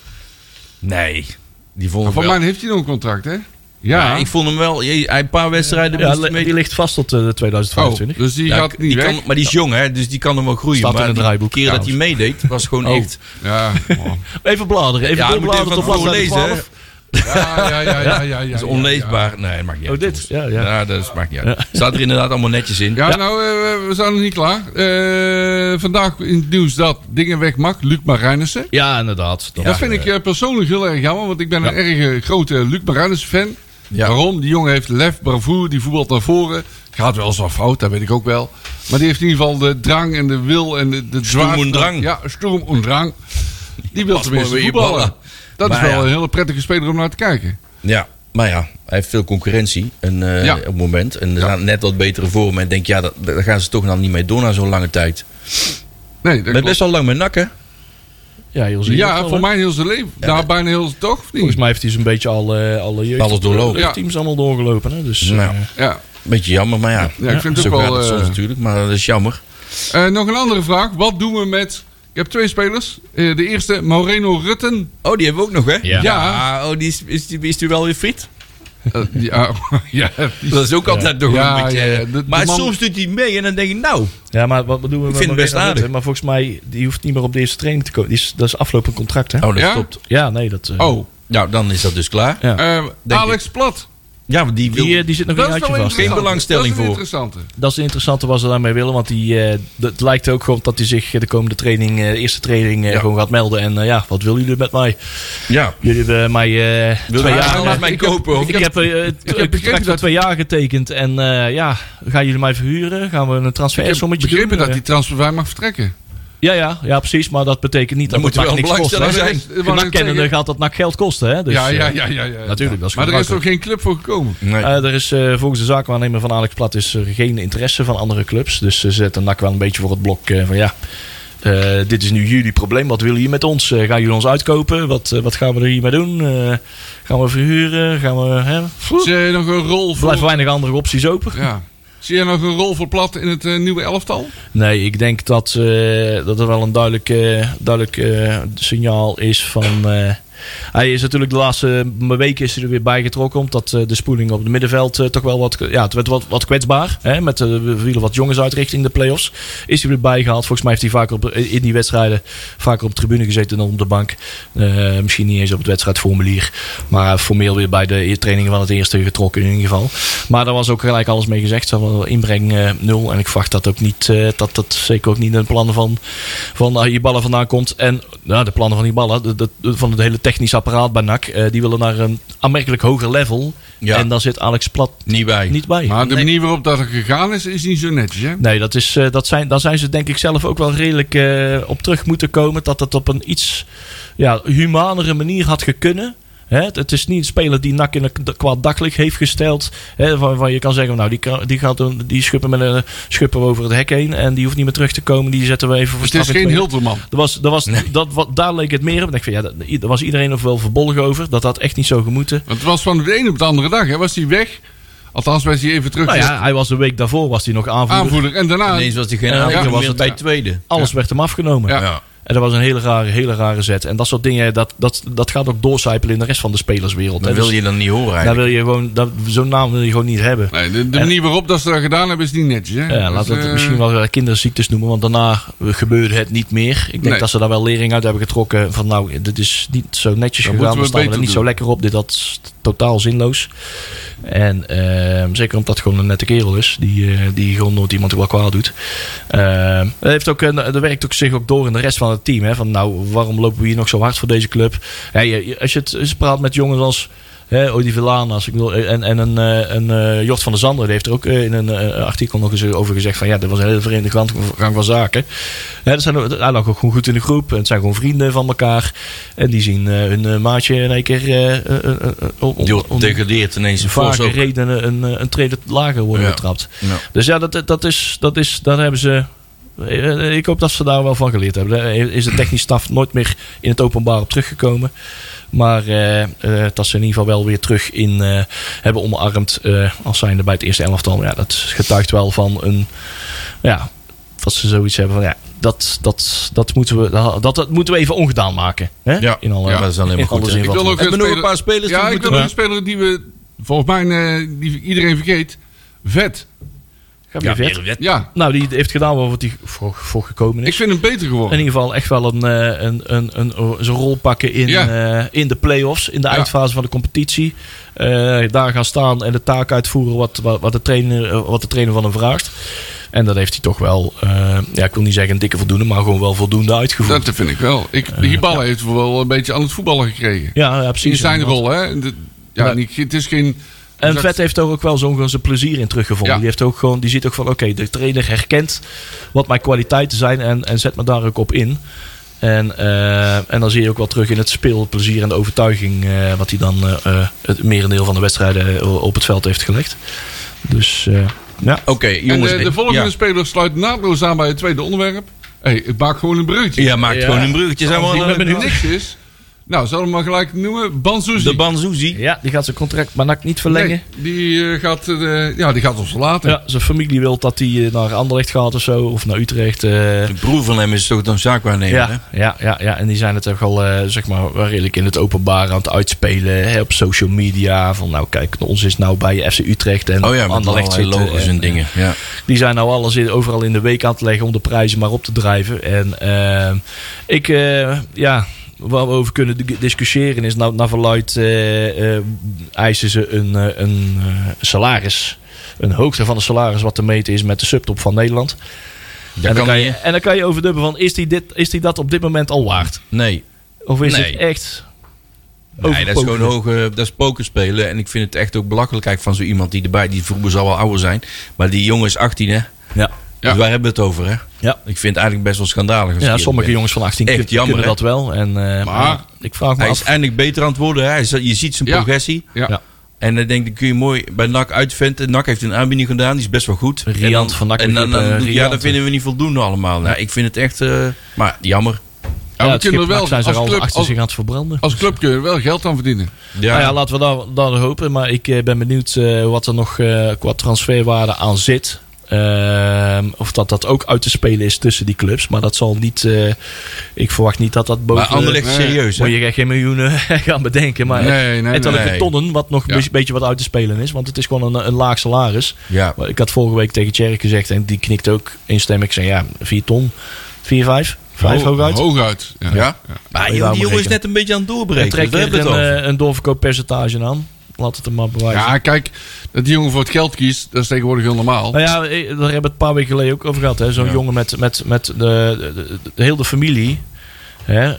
Nee, die vond ik
Van
wel.
mij heeft hij nog een contract, hè? Ja.
Ja, ik vond hem wel. je- Hij een paar wedstrijden.
Ja,
moest hij
li-
mee-
die ligt vast tot eh,
oh,
2025.
dus die
Ja,
gaat niet
die
weg.
kan, maar die is jong, hè, dus die kan hem wel groeien.
Staat in
maar
het draaiboek.
De keer dat hij meedeed, was gewoon
Oh.
echt.
Ja. man.
Even bladeren, even
Ja, hij moet even
doorbladeren
van
tot
tevoren
bladzijde
lezen. hè.
12.
Dat
Ja, ja, ja, ja, ja, ja,
is
ja,
onleesbaar. Nee, dat maakt niet
Oh,
uit.
dit? Ja,
jongens.
ja.
Ja, dat is- maakt niet uit. Staat er inderdaad allemaal netjes in.
Ja, nou, eh, we zijn nog niet klaar. Eh, vandaag in het nieuws dat dingen weg mag. Luc Marijnissen.
Ja, inderdaad. Dat-
dat vind ik eh, persoonlijk heel erg jammer, want ik ben een erg eh, grote Luc Marijnissen fan.
Ja.
Waarom? Die jongen heeft lef, bravoure, die voetbalt naar voren. Gaat wel eens wat fout, dat weet ik ook wel. Maar die heeft in ieder geval de drang en de wil en de, de
Stoem en drang.
Ja, stoem en drang. Die
Pas
wil
maar
tenminste
weer je
voetballen.
ballen.
Dat
Maar
is wel
ja.
een hele prettige speler om naar te kijken.
Ja, maar ja, hij heeft veel concurrentie en, eh,
Ja.
op het moment. En er staan net wat betere vormen. En ik denk, ja, dat- daar gaan ze toch nou niet mee door na zo'n lange tijd.
Nee, dat
Maar
klopt.
best wel lang met nakken.
Ja, heel zeker.
Ja, voor mij heel zijn leven. nou, bijna heel zijn toch, of niet?
Volgens mij heeft hij zo'n beetje al, eh, alle jeugd,
Alles doorlopen.
eh, teams allemaal doorgelopen. Hè? Dus, eh,
Nou.
Ja.
Beetje jammer, maar ja.
Ja, ik vind het
zo
ook
gaat
wel,
het
eh,
soms natuurlijk, maar dat is jammer.
Eh, nog een andere vraag. Wat doen we met... Ik heb twee spelers. Eh, de eerste, Moreno Rutten.
Oh, die hebben we ook nog, hè?
Ja.
Ja.
oh, die is, is, die, is die wel weer fit?
Eh, ja, ja, die-
Dat is ook altijd nog
Ja,
een beetje...
ja, ja.
eh,
De- de
maar
man-
soms doet hij mee en dan denk ik, nou...
Ja, maar wat bedoelen we
Ik vind het
met
best
Moreno
aardig.
Rutte? Maar volgens mij, die hoeft niet meer op de eerste training te komen. Die is, dat is aflopend contract, hè?
Oh, dat
Ja?
stopt.
Ja, nee, dat... eh,
Oh,
Nou, dan is dat dus klaar.
Ja.
eh,
Denk
Alex Plat.
Ja, want die wil...
Die, eh, die zit nog
Dat
een
is
jaartje
wel
vast.
Geen
interessant.
belangstelling
dat is een
voor.
interessante.
Dat is het interessante wat ze daarmee willen. Want die, eh, dat- het lijkt ook gewoon dat hij zich de komende training, eh, eerste training, eh,
Ja.
gewoon gaat melden. En eh, ja, wat willen jullie met mij?
ja.
Jullie hebben mij eh,
Wil
twee
jij
jaar...
anders mij kopen? of-
Ik heb eh, het
begrepen
contract voor
dat-
twee jaar getekend. En eh, ja, gaan jullie mij verhuren? Gaan we een
Ik heb
transfersommetje doen?
begrepen dat
Eh,
die transfervrij mag vertrekken.
Ja, ja, ja, precies. Maar dat betekent niet dat
moet
het
er
NAC niks
wel een
kost. hè.
belangstelling
zijn. Wat ik
NAC kennende
zeg-
gaat dat NAC geld kosten. Hè? Dus,
ja, ja,
eh,
ja, ja, ja.
natuurlijk, dat is
maar er is
gebruikelijk.
toch geen clip voor gekomen?
Nee.
Eh, er is eh, volgens de zaakwaarnemer van Alex Plat is er geen interesse van andere clubs. Dus ze zetten NAC wel een beetje voor het blok eh, van ja, eh, dit is nu jullie probleem. Wat willen jullie met ons? Eh, gaan jullie ons uitkopen? Wat, eh, wat gaan we er hiermee doen? Eh, gaan we verhuren? Gaan we, hè?
Zie je nog een rol
Er blijven
voor...
weinig andere opties open.
Ja. Zie je nog een rol voor plat in het eh, nieuwe elftal?
Nee, ik denk dat, eh, dat er wel een duidelijk, eh, duidelijk eh, signaal is van... eh, hij is natuurlijk de laatste weken is hij er weer bijgetrokken. Omdat eh, de spoeling op het middenveld eh, toch wel wat... Ja, het werd wat, wat kwetsbaar. Hè, met eh, we vielen wat jongens uit richting de play-offs. Is hij weer bijgehaald. Volgens mij heeft hij vaker op, eh, in die wedstrijden vaker op de tribune gezeten dan op de bank. Eh, misschien niet eens op het wedstrijdformulier. Maar formeel weer bij de trainingen van het eerste getrokken in ieder geval. Maar daar was ook gelijk alles mee gezegd. Ze hadden wel inbreng eh, nul. En ik verwacht dat ook niet, eh, dat dat zeker ook niet in de plannen van, van eh, Hiballa vandaan komt. En nou, de plannen van Hiballa, de, de- van het hele technisch apparaat bij NAC, eh, die willen naar een aanmerkelijk hoger level.
Ja.
En daar zit Alex Plat
Niet bij.
niet bij.
Maar de
Nee.
manier waarop dat er gegaan is, is niet zo netjes, hè?
Nee, dat is, eh, dat zijn, daar zijn ze denk ik zelf ook wel redelijk eh, op terug moeten komen. Dat dat op een iets ja, humanere manier had gekunnen. Hè, het, het is niet een speler die NAC in een kwaad daglicht heeft gesteld. Hè, waarvan je kan zeggen, nou die, kan- die, gaat een, die schuppen, met een, schuppen we over het hek heen. En die hoeft niet meer terug te komen. Die zetten we even voor
Het
straf
is
in
geen
tweede.
Hilterman.
Er was, er was, dat, wat, daar leek het meer op. En ik vind, ja, dat- daar was iedereen nog wel verbolgen over. Dat had echt niet zo gemoeten.
Want het was van de ene op de andere dag, hè? Was hij weg? Althans, was hij even terug
Nou
naar
ja, hij was een week daarvoor was hij nog aanvoerder.
aanvoerder. En daarna...
Ineens was hij geen
Ja,
aanvoerder,
ja.
was het bij tweede.
Alles werd hem afgenomen.
Ja.
Ja.
En dat was een hele rare, hele rare zet. En dat soort dingen, dat, dat, dat gaat ook doorcijpelen in de rest van de spelerswereld.
Dat
hè.
wil
Dus
je dan niet horen
daar
eigenlijk.
wil je gewoon, dat, zo'n naam wil je gewoon niet hebben.
Nee, de, de manier waarop dat ze dat gedaan hebben, is niet netjes, hè?
Ja, laten we het
eh,
misschien wel eh, kinderziektes noemen, want daarna gebeurde het niet meer. Ik denk
Nee.
dat ze daar wel lering uit hebben getrokken van nou, dit is niet zo netjes
Dat
gegaan,
moeten
we
we
staan we er
beter
niet zo
doen.
lekker op, dit dat is totaal zinloos. En ehm, zeker omdat het gewoon een nette kerel is, die, eh, die gewoon nooit iemand wel kwaad doet. Ehm, dat, heeft ook, een- dat werkt ook zich ook door in de rest van het team, hè, van nou, waarom lopen we hier nog zo hard voor deze club? Ja, je- je- als je het als je praat met jongens als hè, Odi Villanas ik bedoel, en, en een, eh, een eh, Jort van der Zander, die heeft er ook eh, in een eh, artikel nog eens over gezegd van ja, dat was een hele vreemde gang, gang van zaken. Hè, dat zijn, hij lag ook gewoon goed in de groep, en het zijn gewoon vrienden van elkaar en die zien eh, hun eh, maatje in één keer eh, eh, eh, eh, om- om-
Die wordt
om-
degradeert ineens een fors
vaker
ook.
redenen een, eh, een trede lager worden
Ja.
getrapt.
Ja.
Dus ja, dat, dat is, dat is, daar hebben ze. eh, Ik hoop dat ze daar wel van geleerd hebben. Daar is de technisch staf nooit meer in het openbaar op teruggekomen. Maar eh, eh, dat ze in ieder geval wel weer terug in eh, hebben omarmd. eh, als zijnde bij het eerste elftal. Ja, dat getuigt wel van een. Ja, dat ze zoiets hebben van ja. Dat, dat, dat, moeten, we, dat, dat moeten we even ongedaan maken. Hè?
Ja.
in alle,
Ja, dat is alleen maar
in
goed,
alle
hè.
zin
Ik
van het
wil
woord.
ook
Hebben we nog een paar spelers die
Ja,
we
ik
moeten-
wil nog
Ja.
een speler die we, volgens mij, eh, die iedereen vergeet. Vet.
Ga maar verder.
Ja,
Nou, die heeft gedaan wat hij voor, voor gekomen is.
ik vind hem beter geworden.
in ieder geval echt wel een, eh, een, een, een, zijn rol pakken in,
Ja.
eh, in de play-offs, in de
Ja.
eindfase van de competitie. Eh, daar gaan staan en de taak uitvoeren wat, wat, wat de, trainer, eh, wat de trainer van hem vraagt. En dat heeft hij toch wel, eh, ja, ik wil niet zeggen een dikke voldoende, maar gewoon wel voldoende uitgevoerd.
Dat vind ik wel. Ik, die ballen heeft wel een beetje aan het voetballen gekregen.
ja, ja, precies.
In zijn
inderdaad.
rol, hè? De- ja,
Nee.
niet, het is geen...
En
Zakt-
Vet heeft er ook wel zo'n gewoon zijn plezier in teruggevonden.
Ja.
Die, heeft ook gewoon, die ziet ook van, oké, de trainer herkent wat mijn kwaliteiten zijn en, en zet me daar ook op in. En, eh, en dan zie je ook wel terug in het speelplezier en de overtuiging eh, wat hij dan eh, eh, het merendeel van de wedstrijden eh, op het veld heeft gelegd. Dus eh, ja,
Oké, jongens.
en eh, de, de
ik-
volgende
ja.
speler sluit naadloos aan bij het tweede onderwerp. Hé, hey, ik maak gewoon een bruggetje.
Ja, maakt
Ja.
gewoon een bruggetje. Zijn we
Ik ben
al-
benieuwd.
eh, Niks is... Nou, zal hem maar gelijk noemen. Bansuzi.
De Banzuzi.
ja, die gaat zijn contract maar NAC niet verlengen.
Nee, die, eh, gaat, eh, de- ja, die gaat ons verlaten.
Ja, zijn familie wil dat hij eh, naar Anderlecht gaat of zo, of naar Utrecht. eh.
De broer van hem is toch dan zaakwaarnemer, hè?
Ja, ja, ja, ja, en die zijn het ook al eh, zeg maar, wel redelijk in het openbaar aan het uitspelen. Hè, op social media. Van nou kijk, ons is nou bij FC Utrecht en
Oh ja, met
Anderlecht
allerlei
zitten.
logos
eh, En,
en dingen. Ja.
Die zijn nou alles in, overal in de week aan het leggen om de prijzen maar op te drijven. En ehm, ik, eh, ja, waar we over kunnen di- discussiëren is, nou, naar verluid eh, eh, eisen ze een, eh, een eh, salaris. Een hoogte van de salaris wat te meten is met de subtop van Nederland. en,
Dat
dan
kan
kan je,
niet.
en dan kan je overdubben van, is die, dit, is die dat op dit moment al waard?
Nee.
Of is
Nee.
het echt...
Nee, dat is gewoon
overpoken?
hoge, dat is pokerspelen. En ik vind het echt ook belachelijk eigenlijk van zo iemand die erbij, die vroeger zal wel ouder zijn. Maar die jongen is 18 hè.
Ja.
Dus waar hebben we het over, hè?
Ja.
Ik vind het eigenlijk best wel schandalig. als ik
Ja,
eerlijk
sommige
ben.
jongens van 18
Echt
kun-
jammer,
kunnen dat
hè?
wel. En, eh, maar, ik vraag me
Hij is
af.
eindelijk beter aan het worden. Hè? Hij is- Je ziet zijn
Ja.
progressie.
Ja.
Ja.
En dan denk ik, dan kun je mooi bij NAC uitventen. NAC heeft een aanbieding gedaan, die is best wel goed.
Riant
En dan-
van NAC
En dan,
begreep, eh,
dan- ja,
Riant,
dat vinden we niet voldoende allemaal. Nou, ik vind het echt, eh, maar jammer.
Ja, we
het
kunnen
schip
er wel
NAC zijn ze er
als
al
club,
achter
als,
zich aan het verbranden.
als club kun je er wel geld aan verdienen.
Ja,
Nou ja, laten we daar, daar hopen. Maar ik eh, ben benieuwd eh, wat er nog eh, qua transferwaarde aan zit. Ehm, of dat dat ook uit te spelen is tussen die clubs. Maar dat zal niet... eh, ik verwacht niet dat dat boven...
maar Anderlecht is
nee.
serieus. hè?
Moet je echt geen miljoenen gaan bedenken. Maar
Nee, nee,
ettelijke
nee.
tonnen, wat nog
Ja.
een beetje wat uit te spelen is. Want het is gewoon een, een laag salaris.
Ja.
Maar Ik had vorige week tegen Tjerk gezegd en die knikt ook instemmig. Ik zei ja, 4 ton, 4, 5, 5
Ho-
hooguit.
Hooguit. Ja.
Ja? Maar joh,
Waarom
die jongen is
rekenen?
net een beetje aan het
en
doorbreken.
trek
Daar
er
hebben we
een,
het over.
eh, een doorverkooppercentage aan. Laat het hem maar bewijzen.
Ja, kijk, dat die jongen voor het geld kiest, dat is tegenwoordig heel normaal.
Nou ja, eh, daar hebben we het een paar weken geleden ook over gehad. hè. Zo'n jongen met, met, met de, de, de- de- heel de familie. Hè?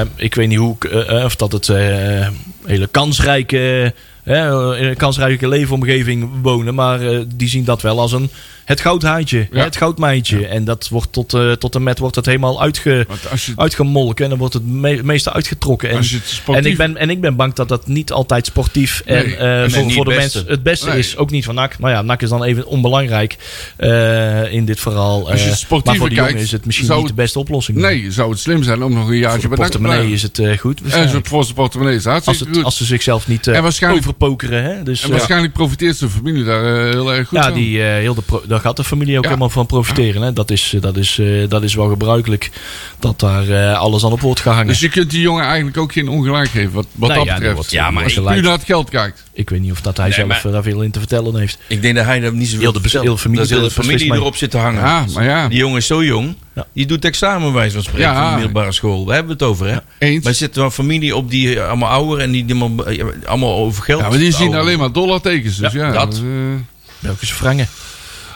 Eh, ik weet niet hoe, ik, eh, eh, of dat het eh, hele kansrijke, hè, in een kansrijke leefomgeving wonen. Maar eh, die zien dat wel als een, het goudhaantje,
Ja.
het goudmijntje. En dat wordt tot, eh, tot en met wordt dat helemaal uitge,
Want als je,
uitgemolken. En dan wordt het me- meeste uitgetrokken. En,
als je het sportief...
en ik, ben, en ik ben bang dat dat niet altijd sportief en
Nee,
eh,
en
voor,
niet
voor de
het
mensen
beste.
het beste
Nee.
is. Ook niet van NAC. Nou ja, NAC is dan even onbelangrijk eh, in dit verhaal.
Als je
Eh,
sportief
maar voor de jongen
bekijkt,
is het misschien
zou
niet de
het-
beste oplossing.
Nee, zou het slim zijn om nog een
Voor
jaartje
de
bij NAC te blijven.
portemonnee is het eh, goed.
En
waarschijnlijk.
zo- voor zijn portemonnee is het
Als,
hartstikke
het,
goed.
als ze zichzelf niet eh,
En waarschijnlijk-
overpokeren. Hè? Dus,
en
eh,
waarschijnlijk profiteert zijn familie daar eh, heel erg goed
ja,
van.
die, eh, heel de pro- daar gaat de familie ook
Ja.
helemaal van profiteren. Hè? Dat, is, eh, dat, is, eh, dat is wel gebruikelijk dat daar eh, alles aan op wordt gehangen.
Dus je kunt die jongen eigenlijk ook geen ongelijk geven, wat, wat
Nee,
dat
ja, die
betreft.
wordt-
Ja, maar
die
als je
wordt
puur
gelijk.
naar het geld kijkt.
Ik weet niet of dat hij zelf
maar-
eh, daar veel in te vertellen heeft.
Ik denk dat hij daar niet zoveel
Heel de-
vertelt.
heel de familie
Dat is heel de
beslist
familie
mij.
erop zit te hangen.
Ja, maar ja.
Die jongen is zo jong.
Ja.
Die doet examen bij zo'n spreken
Ja.
van de middelbare school. Daar hebben we het over, hè?
Eens.
Maar er zit wel een familie op die eh, allemaal ouder en die die allemaal, eh, allemaal over geld.
Ja, maar die zien
ouder.
alleen maar dollartekens. Dus ja,
Ja, dat.
eh,
Belgische frangen.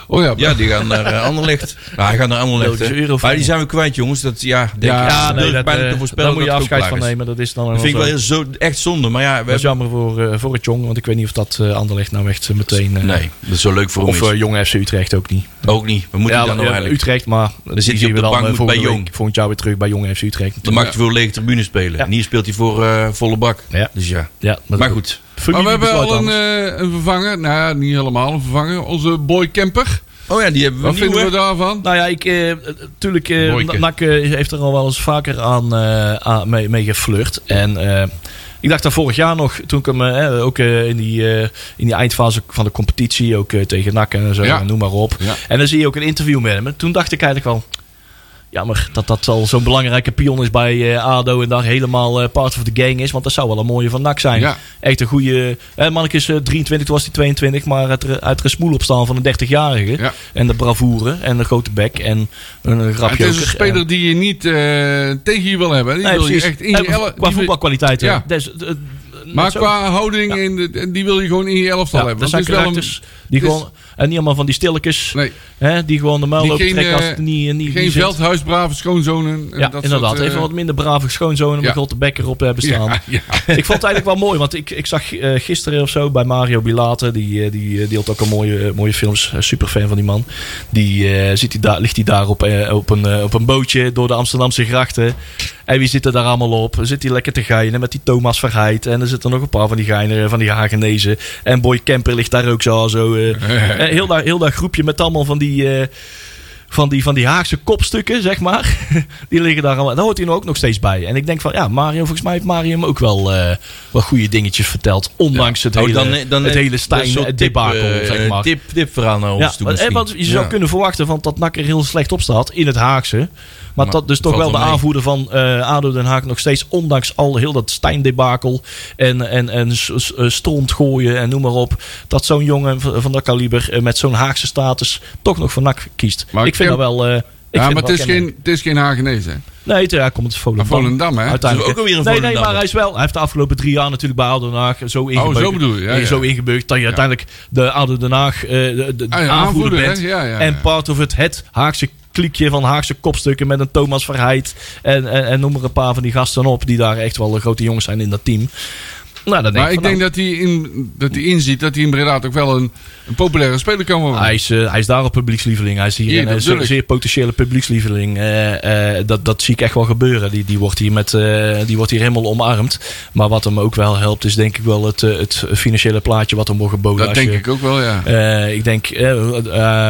oh ja,
Ja, die gaan naar eh, Anderlecht. Nou, hij gaat naar Anderlecht.
Belgische
hè.
euro
Maar die
voor.
zijn we kwijt, jongens. Dat, ja, denk
Ja,
ik.
ja,
dat
nee,
durf ik
dat,
bijna
eh,
te voorspellen
daar moet je
dat het ook
afscheid
klaar
van
is.
nemen. Dat is dan
Dat vind ik wel
zo.
heel, zo, echt zonde. Maar ja, we
Dat is
hebben...
jammer voor, eh, voor het jong, want ik weet niet of dat eh Anderlecht nou echt eh, meteen... eh,
Nee, dat is zo leuk voor
Of
ons.
eh, jong FC Utrecht ook niet.
ook niet. We moeten
ja,
dan
eh,
nou eigenlijk...
Utrecht, maar dan eh,
zit hij op de bank met bij Jong.
volgend jaar weer terug bij jong FC Utrecht.
Dan mag hij voor lege tribune spelen.
Ja.
En hier speelt hij voor eh, volle bak.
Ja.
Dus ja.
Ja,
Maar goed.
Maar we hebben al een,
anders.
eh, een vervanger. Nou ja, niet helemaal een vervanger. Onze boy Kemper.
Oh ja, die hebben we
Wat
nieuw,
vinden we
hè?
daarvan?
Nou ja, ik, eh, eh, tuurlijk, eh,
Boyke.
NAC eh, heeft er al wel eens vaker aan, eh, aan- mee, mee geflirt. En eh, ik dacht daar vorig jaar nog, toen ik hem eh, eh, ook eh, in, die, eh, in die eindfase van de competitie, ook eh, tegen NAC en zo,
Ja.
noem maar op.
Ja.
En dan zie je ook een interview met hem. En toen dacht ik eigenlijk wel, jammer dat dat al zo'n belangrijke pion is bij eh, ADO en daar helemaal eh, part of the gang is. Want dat zou wel een mooie van NAC zijn.
Ja.
Echt een goede... Eh, Manneke is eh, 23, toen was hij 22, maar het, re- het gesmoel opstaan van een 30-jarige.
Ja.
En de bravoure en de grote bek en een
Ja, het
grapje. eh,
is een speler die je niet eh, tegen je wil hebben. Die wil je echt in je elf-
Qua
die wil-
voetbalkwaliteit.
Ja.
Ja. Dus, eh, eh,
Maar
zo.
qua houding, in de, die wil je gewoon in je elftal
Ja,
hebben.
dat
Want
zijn
het is wel
karakters die
het is-
gewoon... En niet allemaal van die stilletjes.
Nee.
Hè, die gewoon de muil
Die
lopen
geen,
trekken als
eh,
het niet, eh, niet,
Geen
niet zit.
veldhuisbrave schoonzonen. eh,
Ja,
dat
inderdaad.
soort, eh,
Even wat minder brave schoonzonen om
ja.
de grote bekker op hebben staan.
Ja, ja.
ik vond het eigenlijk wel mooi, want ik, ik zag eh, gisteren of zo bij Mario Bilate, die, eh, die eh, deelt ook een mooie, eh, mooie films, super fan van die man. Die eh, zit die daar, ligt hij daar op, eh, op, een, eh, op een bootje door de Amsterdamse grachten. En wie zit er daar allemaal op? Zit hij lekker te geinen met die Thomas Verheid. En er zitten nog een paar van die geineren, van die Hagenezen. En Boy Kemper ligt daar ook zo. zo eh. Eh, heel, dat, heel dat groepje met allemaal van die... eh, van die, van die Haagse kopstukken, zeg maar. Die liggen daar allemaal. Daar hoort hij nou ook nog steeds bij. En ik denk van, ja, Mario, volgens mij heeft Mario hem ook wel, eh, wel goede dingetjes verteld. Ondanks het
Oh,
hele,
dan, dan,
het hele
dat is een soort
Stijn-debakel,
tip, eh,
zeg maar.
Tip, tip verhaal naar ons
ja,
toe
want, eh,
misschien.
want je zou
Ja.
kunnen verwachten van dat NAC er heel slecht op staat in het Haagse. Maar, dat dus toch
valt
wel de
wel mee.
aanvoerder van eh, ADO Den Haag nog steeds, ondanks al heel dat Stijn-debakel en, en, en s- s- eh, stront gooien en noem maar op, dat zo'n jongen van van dat kaliber eh, met zo'n Haagse status toch nog voor NAC kiest.
Maar
ik vind
Kem-
dat wel... eh, ik vind
Ja,
dat
maar
wel
het is,
kenmerkend.
geen, het is geen Hagenees, hè?
Nee, het- hij komt uit Volendam.
Maar Volendam, hè?
Uiteindelijk.
Dus ook alweer een
nee, nee,
Volendammer.
maar hij is wel. Hij heeft de afgelopen drie jaar natuurlijk bij ADO Den Haag zo ingebeugd.
Oh, zo bedoel je, ja, ja.
Zo ingebeugd dat je uiteindelijk de ADO Den Haag eh, de, de
Ah,
aanvoerder
ja, aanvoerder,
bent.
hè? Ja, ja, ja.
En part of het, het Haagse kliekje van Haagse kopstukken met een Thomas Verheid. En, en, en noem er een paar van die gasten op die daar echt wel de grote jongens zijn in dat team. Nou, dat denk
maar ik
van
denk
wel.
dat hij, in, dat hij inziet dat hij in Breda ook wel een, een populaire speler kan worden.
Hij is, eh, hij is daar al publiekslieveling. Hij is hier
Ja,
een
dat
eh,
bedoel
zeer,
ik.
zeer potentiële publiekslieveling. Eh, eh, dat, dat zie ik echt wel gebeuren. Die, die, wordt hier met, eh, die wordt hier helemaal omarmd. Maar wat hem ook wel helpt, is denk ik wel het, eh, het financiële plaatje wat hem wordt geboden.
dat
als
denk
je-
ik ook wel, ja.
eh, ik denk eh,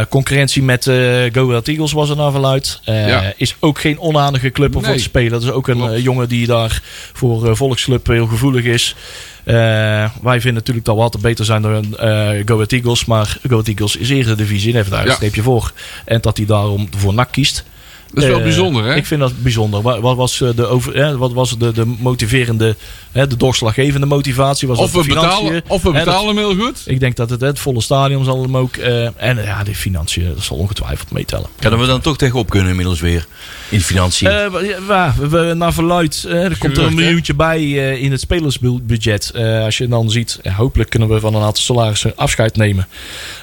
eh, concurrentie met eh Go Ahead Eagles was er naar verluid. Eh,
Ja.
Is ook geen onaardige club om
Nee.
voor te spelen. Dat is ook een
Klopt.
eh, jongen die daar voor eh, volksclub heel gevoelig is. Eh, wij vinden natuurlijk dat we altijd beter zijn dan eh Go Ahead Eagles. Maar Go Ahead Eagles is eredivisie en heeft daar een
Ja.
streepje voor. En dat hij daarom voor NAC kiest.
Dat is wel
Eh,
bijzonder, hè?
Ik vind dat bijzonder. Wa- Wat was eh, de, over, eh, wat was de, de motiverende, eh, de doorslaggevende motivatie? Was
Of
dat
we,
de financiën?
betalen, of we
Eh, dat-
betalen hem heel goed.
ik denk dat het, het volle stadion zal hem ook. eh, en eh, ja, de financiën dat zal ongetwijfeld meetellen.
Kunnen we dan toch tegenop kunnen inmiddels weer? In financiën.
Eh, wa- ja, wa- we, naar verluid, eh, er komt er een
Gerucht, hè?
miljoentje bij eh, in het spelersbudget. Eh, als je dan ziet, ja, hopelijk kunnen we van een aantal salarissen afscheid nemen.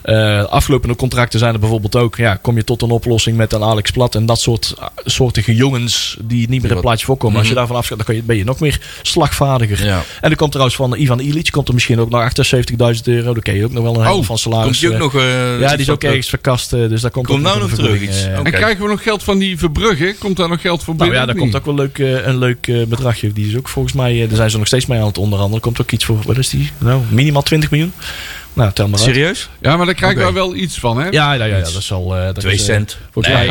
Eh, aflopende contracten zijn er bijvoorbeeld ook. Ja, kom je tot een oplossing met een Alex Plat en dat soort ah, soortige jongens die niet meer in het plaatje voorkomen. Als je daarvan afscheid, dan kan je, ben je nog meer slagvaardiger.
Mhm. Ja.
En er komt trouwens van Ivan Illich, komt er misschien ook nog 78.000 euro. Daar ken je ook nog wel een heleboel
Oh,
van
Komt
salaris.
die ook
eh,
nog... eh,
ja, die is ook
dat-
ergens verkast, eh, dus daar komt
Komt
ook
nou
een
nog terug
vergoeding,
iets.
eh,
Oké.
En krijgen we nog geld van die Verbrugge? Komt daar nog geld voor
nou
binnen?
ja, daar
of
komt
niet?
ook wel leuk, eh, een leuk eh, bedragje. Die is ook volgens mij, eh, daar zijn ze nog steeds mee aan het onderhandelen. Komt ook iets voor, wat is die? Nou, minimaal 20 miljoen. Nou, tel maar uit.
Serieus?
Ja, maar daar krijgen
Oké.
we wel iets van, hè?
Ja, ja, ja, ja, dat zal... eh, dat
Twee
is, eh,
cent.
volgens mij,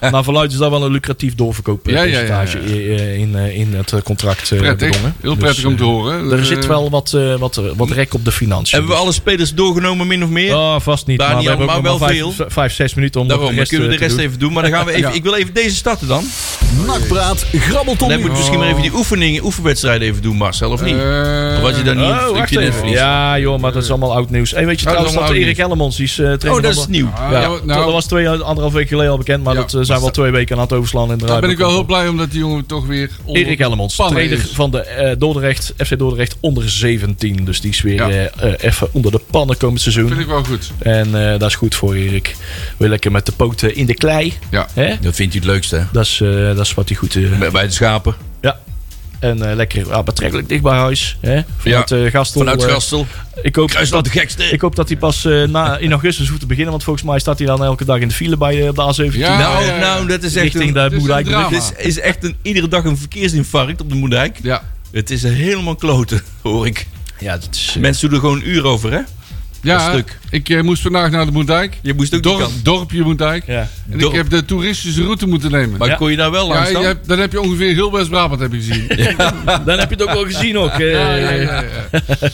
eh, naar verluid is dat wel een lucratief doorverkooppercentage
Ja, ja, ja, ja.
eh, in, eh, in het eh, contract eh,
Prettig.
bedongen.
Heel
Dus,
prettig om
eh,
te horen.
Er
Dus,
zit
eh,
wel wat, eh, wat, wat rek op de financiën.
Hebben we alle spelers doorgenomen min of meer?
Oh, vast niet.
Daar
maar
niet
we hebben
allemaal,
ook nog
maar
maar
wel
vijf, vijf, zes minuten om nog
Daarom,
de
dan
rest,
kunnen we
eh,
de rest
te doen.
even doen. Maar dan gaan we even,
Ja.
ik wil even deze starten dan.
Nakpraat,
Dan
grabbelton.
moet je misschien maar even die oefeningen, oefenwedstrijden even doen, Marcel, of niet?
eh,
Of had je dan niet
Oh,
een
wacht
stukje net
even.
verlies?
Ja, joh, maar dat is allemaal oud nieuws. Hey, weet je
Ja, Oh, dat is
trouwens dat
allemaal
Erik
oud
Hellemons die is eh, trainer
Oh, dat
van
is
de-
nieuw.
ah,
Ja,
nou,
dat was twee, anderhalf week geleden al bekend, maar
Ja,
dat eh, zijn we al twee weken aan het overslaan in de
daar ben ik wel heel
rijbewijs.
blij om dat die jongen toch weer... onder
Erik Hellemons,
pannen
trainer
is.
van de eh, Dordrecht, FC Dordrecht onder 17. Dus die is weer
Ja.
eh, eh, even onder de pannen komend
Vind
seizoen.
ik wel goed.
En eh, dat is goed voor Erik. Weer lekker met de poten in de klei.
Ja.
Hè?
Dat vindt hij het leukste, hè?
Dat, is, eh, dat is wat hij goed... eh,
Bij- Bij de schapen.
ja. En eh, lekker ah, betrekkelijk dicht bij huis. Hè? Vanuit ja. Gastel.
Vanuit
eh,
Gastel.
ik hoop
Kruis dat de gekste.
Ik hoop dat hij pas eh, na, in augustus hoeft te beginnen. Want volgens mij staat hij dan elke dag in de file bij eh, op de A17.
Ja,
nou,
ja, ja.
nou, dat is echt
richting
een,
de
het is
Moerdijk.
een drama.
dit is, is echt een, iedere dag een verkeersinfarct op de Moerdijk.
Ja.
Het is helemaal kloten, hoor ik.
Ja, dat is... eh,
Mensen doen er gewoon een uur over, hè?
Ja,
Dat stuk.
ik eh, moest vandaag naar de Moerdijk.
Je moest ook die
Dorp,
kant.
dorpje Moerdijk.
Ja.
En
Dorp.
ik heb de toeristische route moeten nemen.
Maar
Ja.
kon je daar wel
ja,
langs
je
dan?
hebt- dan heb je ongeveer heel West-Brabant heb je gezien.
Dan heb je het ook wel gezien ook. eh.
Ja, ja, ja, ja.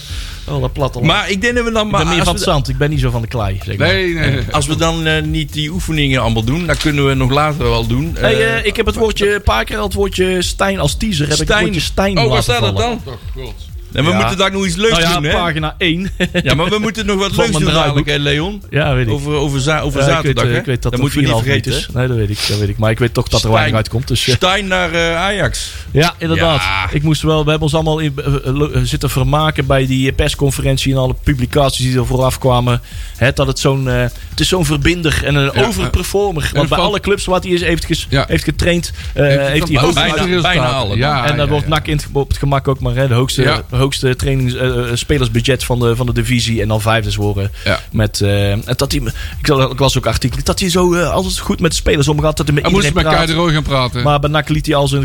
Oh, dat platte land.
Maar ik denk dat we dan
Ik ben
maar...
meer van
Als
het
we,
zand. Ik ben niet zo van de klei. Zeg maar.
Nee, nee. nee.
als we dan eh, niet die oefeningen allemaal doen, dan kunnen we nog later wel doen.
Hey,
Eh,
eh, ik heb het woordje, een paar keer al het woordje Stijn als teaser. Heb ik het
Stijn.
woordje Stijn
oh, waar
laten
staat dat
vallen.
dan?
Toch, god.
En we
Ja.
moeten daar nog iets leuks
Nou ja,
doen, hè?
pagina 1.
Ja, maar we moeten nog wat
Van
leuks
mijn
doen dadelijk,
draaiboek.
hè, Leon?
ja, weet ik.
Over, over, za- over
Ja, ik weet,
zaterdag,
eh,
hè?
ik weet dat
dat
er
moeten we niet
4,5 minuut
vergeten.
is. Nee, dat weet ik, dat weet ik. Maar ik weet toch dat er
Stijn.
weinig uitkomt. Dus, eh.
Stein naar eh, Ajax.
Ja, inderdaad.
Ja.
Ik moest wel, we hebben ons allemaal in, eh, eh, lo- eh, zitten vermaken bij die persconferentie en alle publicaties die er vooraf kwamen. Hè, dat het zo'n, eh, het is zo'n verbinder en een
Ja. eh,
overperformer. Want bij
valt-
alle clubs waar hij is, heeft, ges-
Ja.
heeft getraind, eh, heeft hij
Fantastische
hoogste
bijna-
resultaten.
bijna alle.
Ja,
en
ja,
dat wordt
ja.
NAC in, het- op het gemak ook maar hè, de hoogste,
Ja.
hoogste trainings, eh, eh, spelersbudget van de, van de divisie. En dan vijfdes worden.
Ja.
Met, eh, en dat hij, ik, zal- ik las ook artikelen. Dat hij zo eh, altijd goed met de spelers omgaat. Dat hij met
Hij moest
iedereen
met Kai
praat.
de Roo gaan praten.
Maar bij NAC liet hij al zijn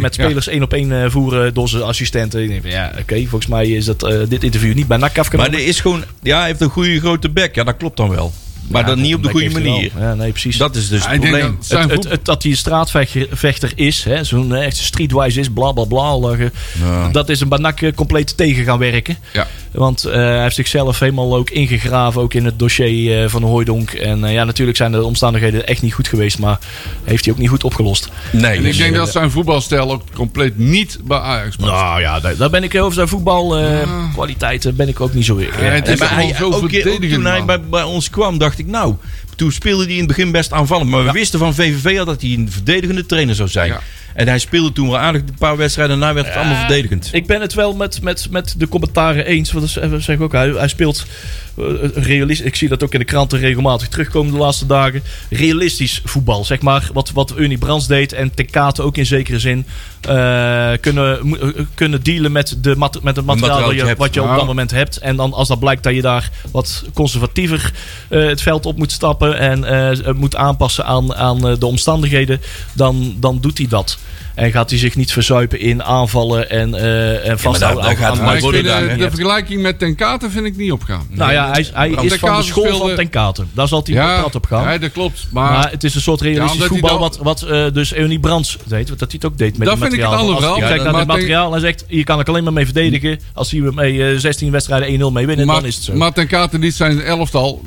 met spelers één op één eh, voeren door zijn assistenten. Ik denk van, ja, oké, volgens mij is dat, eh, dit interview niet bij NAC
Maar
afgenomen.
er is gewoon... Ja, hij heeft een goede grote bek. Ja, dat klopt dan wel. Maar
Ja,
dan niet op de
Mac
goede
heeft hij wel.
manier.
Ja, nee, precies.
Dat is dus
Ja,
het
ik denk
probleem.
dat zijn
het, het,
voet-
het- dat hij een straatvechter is, hè, zo'n eh, echt streetwise is, bla bla bla. al, eh, Dat is een banak eh, compleet tegen gaan werken.
Ja.
Want eh, hij heeft zichzelf helemaal ook ingegraven, ook in het dossier eh, van Hooidonk. En eh, ja, natuurlijk zijn de omstandigheden echt niet goed geweest, maar heeft hij ook niet goed opgelost.
Nee.
En ik denk dat zijn voetbalstijl ook compleet niet bij Ajax past.
Nou ja, daar, daar ben ik over zijn voetbalkwaliteiten eh, ben ik ook niet zo weer.
Ja, het is
maar
allemaal
hij,
zo
ook, keer- ook
verdedigend,
toen hij
man.
bij, bij ons kwam, dacht ik nou... Toen speelde hij in het begin best aanvallend. Maar we wisten van VVV al dat hij een verdedigende trainer zou zijn.
Ja.
En hij speelde toen wel aardig een paar wedstrijden. Daarna werd het allemaal verdedigend.
Ik ben het wel met, met, met de commentaren eens. Want dat is- eh, dat zeg ik ook. Hij, hij speelt eh, realis- ik zie dat ook in de kranten regelmatig terugkomen de laatste dagen. Realistisch voetbal, zeg maar. Wat, wat Ernie Brands deed en Ten Kate ook in zekere zin. eh, kunnen, mo- eh, kunnen dealen met, de mat- met het materiaal
materiaal
dat
dat
je-
je hebt.
wat je op
Ja.
dat moment hebt. En dan als dat blijkt dat je daar wat conservatiever eh, het veld op moet stappen. En eh, moet aanpassen aan, aan eh, de omstandigheden. Dan, dan doet hij dat. En gaat hij zich niet verzuipen in aanvallen en, eh en vasthouden
daar
aan-
gaat
aan-
hij
aan-
Maar ik
worden
vind, eh,
daar, hè?
de vergelijking met Ten Kate vind ik niet opgaan.
nou ja, hij, hij
Want
is
Ten
van de
Kate
school van
speelde-
Ten Katen. Daar zal hij ja, op gaan.
Ja, dat klopt. Maar,
maar het is een soort realistisch
omdat hij
voetbal
dan-
wat, wat eh, dus Eunie Brands deed. Dat hij het ook deed met
Dat
het
vind ik het
materiaal.
ander
Als
wel.
je
Ja,
kijkt naar
maar
het
Ten-
materiaal en zegt, je kan er alleen maar mee verdedigen. Als hij mee eh, 16 wedstrijden 1-0 mee winnen,
maar,
dan is het zo.
maar Ten Kate niet zijn elftal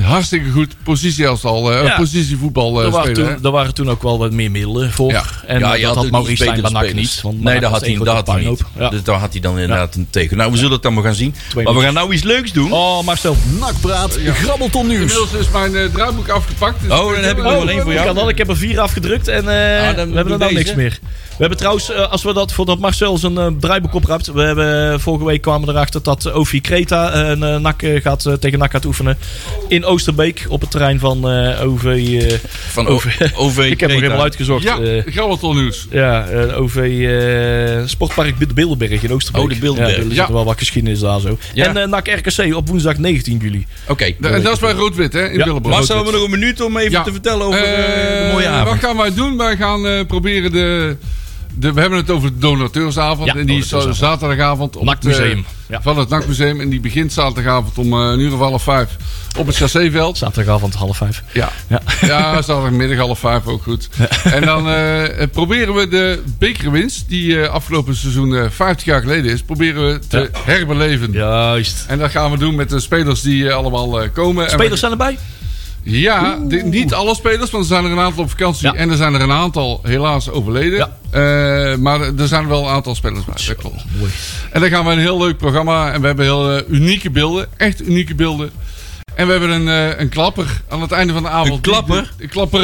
hartstikke goed positieelftal, eh
Ja.
positievoetbal eh,
er, waren
spelen.
toen,
hè.
er waren toen ook wel wat meer middelen voor.
Ja.
En
ja, je
eh, dat
had
had
ook
Maurice
iets
bij
betere
NAC
spelers.
niet. want
nee,
NAC
dat had
was
hij,
één
dat
grote
had hij niet.
puinhoop. Ja.
Dus daar had hij dan inderdaad een tegen. Nou, we zullen het dan maar gaan zien. maar we
minuten.
gaan nou iets leuks doen.
Oh, Marcel.
Nakpraat, grabbelton nieuws.
Inmiddels is mijn eh, draaiboek afgepakt. dus
Oh, dan heb ik nog
eh,
wel één voor
Ik,
jou.
kan wel, ik heb er vier afgedrukt en eh, we
Ah, doe
hebben er nou
deze.
niks meer. We hebben trouwens, eh, als we dat voordat Marcel zijn eh, draaiboek oprapt. We hebben eh, vorige week kwamen we erachter dat eh, Ofi Kreta eh, een, eh, NAC, eh, gaat, eh, tegen NAC gaat oefenen. In Oosterbeek op het terrein van eh, OV. eh,
Van over, over
ik heb nog helemaal uitgezocht.
Ja,
eh,
Grabbelton nieuws.
ja, eh, OV eh, Sportpark de Bilderberg in Oosterbeek.
Oh, de Bilderberg.
Ja, er zit
Ja.
wel wat geschiedenis daar zo.
Ja.
En eh, NAC RKC op woensdag 19 juli.
Oké.
Da- En dat is bij Rood-Wit, hè? In
Ja.
Willem.
Marcel, we hebben nog een minuut om even
Ja.
te vertellen over eh, de
Eh,
mooie
Wat
avond.
gaan wij doen? Wij gaan eh, proberen de, de... We hebben het over de donateursavond.
Ja,
en die is
donateursavond.
zaterdagavond. op het, eh,
NAC-museum. Ja.
Van het NAC-museum. En die begint zaterdagavond om eh, een uur of half vijf op het chassé-veld.
Zaterdagavond half vijf.
Ja.
Ja.
ja, zaterdagmiddag half vijf ook goed. En dan eh, eh, proberen we de bekerwinst, die eh, afgelopen seizoen eh, 50 jaar geleden is, proberen we te herbeleven.
Juist.
En dat gaan we doen met de spelers die eh, allemaal eh, komen. En we
Spelers zijn erbij.
ja, de- niet alle spelers, want er zijn er een aantal op vakantie.
Ja.
En er zijn er een aantal helaas overleden.
Ja.
Eh, maar er zijn wel een aantal spelers bij. Dat klopt. En dan gaan we een heel leuk programma. En we hebben heel eh, unieke beelden. Echt unieke beelden. En we hebben een, eh, een klapper aan het einde van de avond.
Een klapper?
De klapper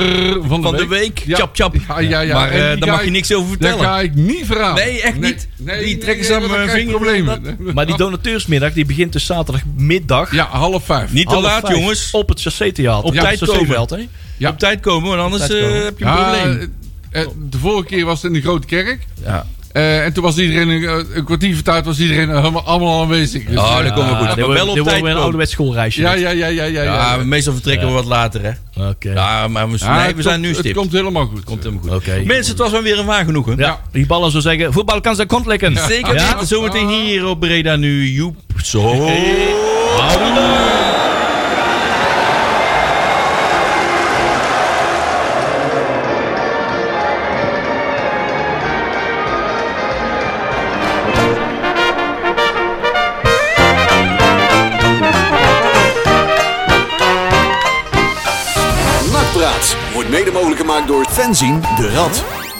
van de
Van
week.
de week.
Ja.
Chap, chap.
Ja, ja, ja.
Maar
En die
eh, daar
ga
mag je
ik-
niks over
Daar
vertellen.
ga ik niet verhalen.
Nee, echt niet. Die trekken ze aan
want dan
mijn
krijg ik
vinger.
problemen.
Maar die donateursmiddag die begint dus zaterdagmiddag.
Ja, half vijf.
Oh. Niet te
half
laat,
vijf,
jongens.
Op het Chassétheater.
Op
Ja,
tijd
het Chasséveld,
komen.
hè?
Ja.
Op tijd komen, want anders
Op tijd
eh,
komen.
heb je een probleem.
eh, eh, de vorige keer was het in de Grote Kerk.
Ja.
Eh, en toen was iedereen, eh, een kwartier voor tijd was iedereen eh, helemaal allemaal aanwezig. Dus,
Oh,
eh,
dat komt wel
Ah,
goed. Maar
dit wordt-
wel op
dit
tijd
wordt weer een
komen.
ouderwets schoolreisje. dus.
ja,
dit.
ja, ja, ja, ja.
Ja,
eh, ja.
maar meestal vertrekken we wat later, hè.
Oké.
Ja, maar we,
Ja,
nee,
het
we zijn
komt-
nu stipt.
Het komt helemaal goed.
Komt helemaal goed.
Oké.
Mensen, het was wel weer een waar genoegen.
Ja, die ballen zou zeggen, voetbal kan zijn kont lekken.
Zeker
Ja?
weten. Zometeen hier op Breda nu. Joep. Zo.
Nakpraat wordt mede mogelijk gemaakt door Fenzin de Rad.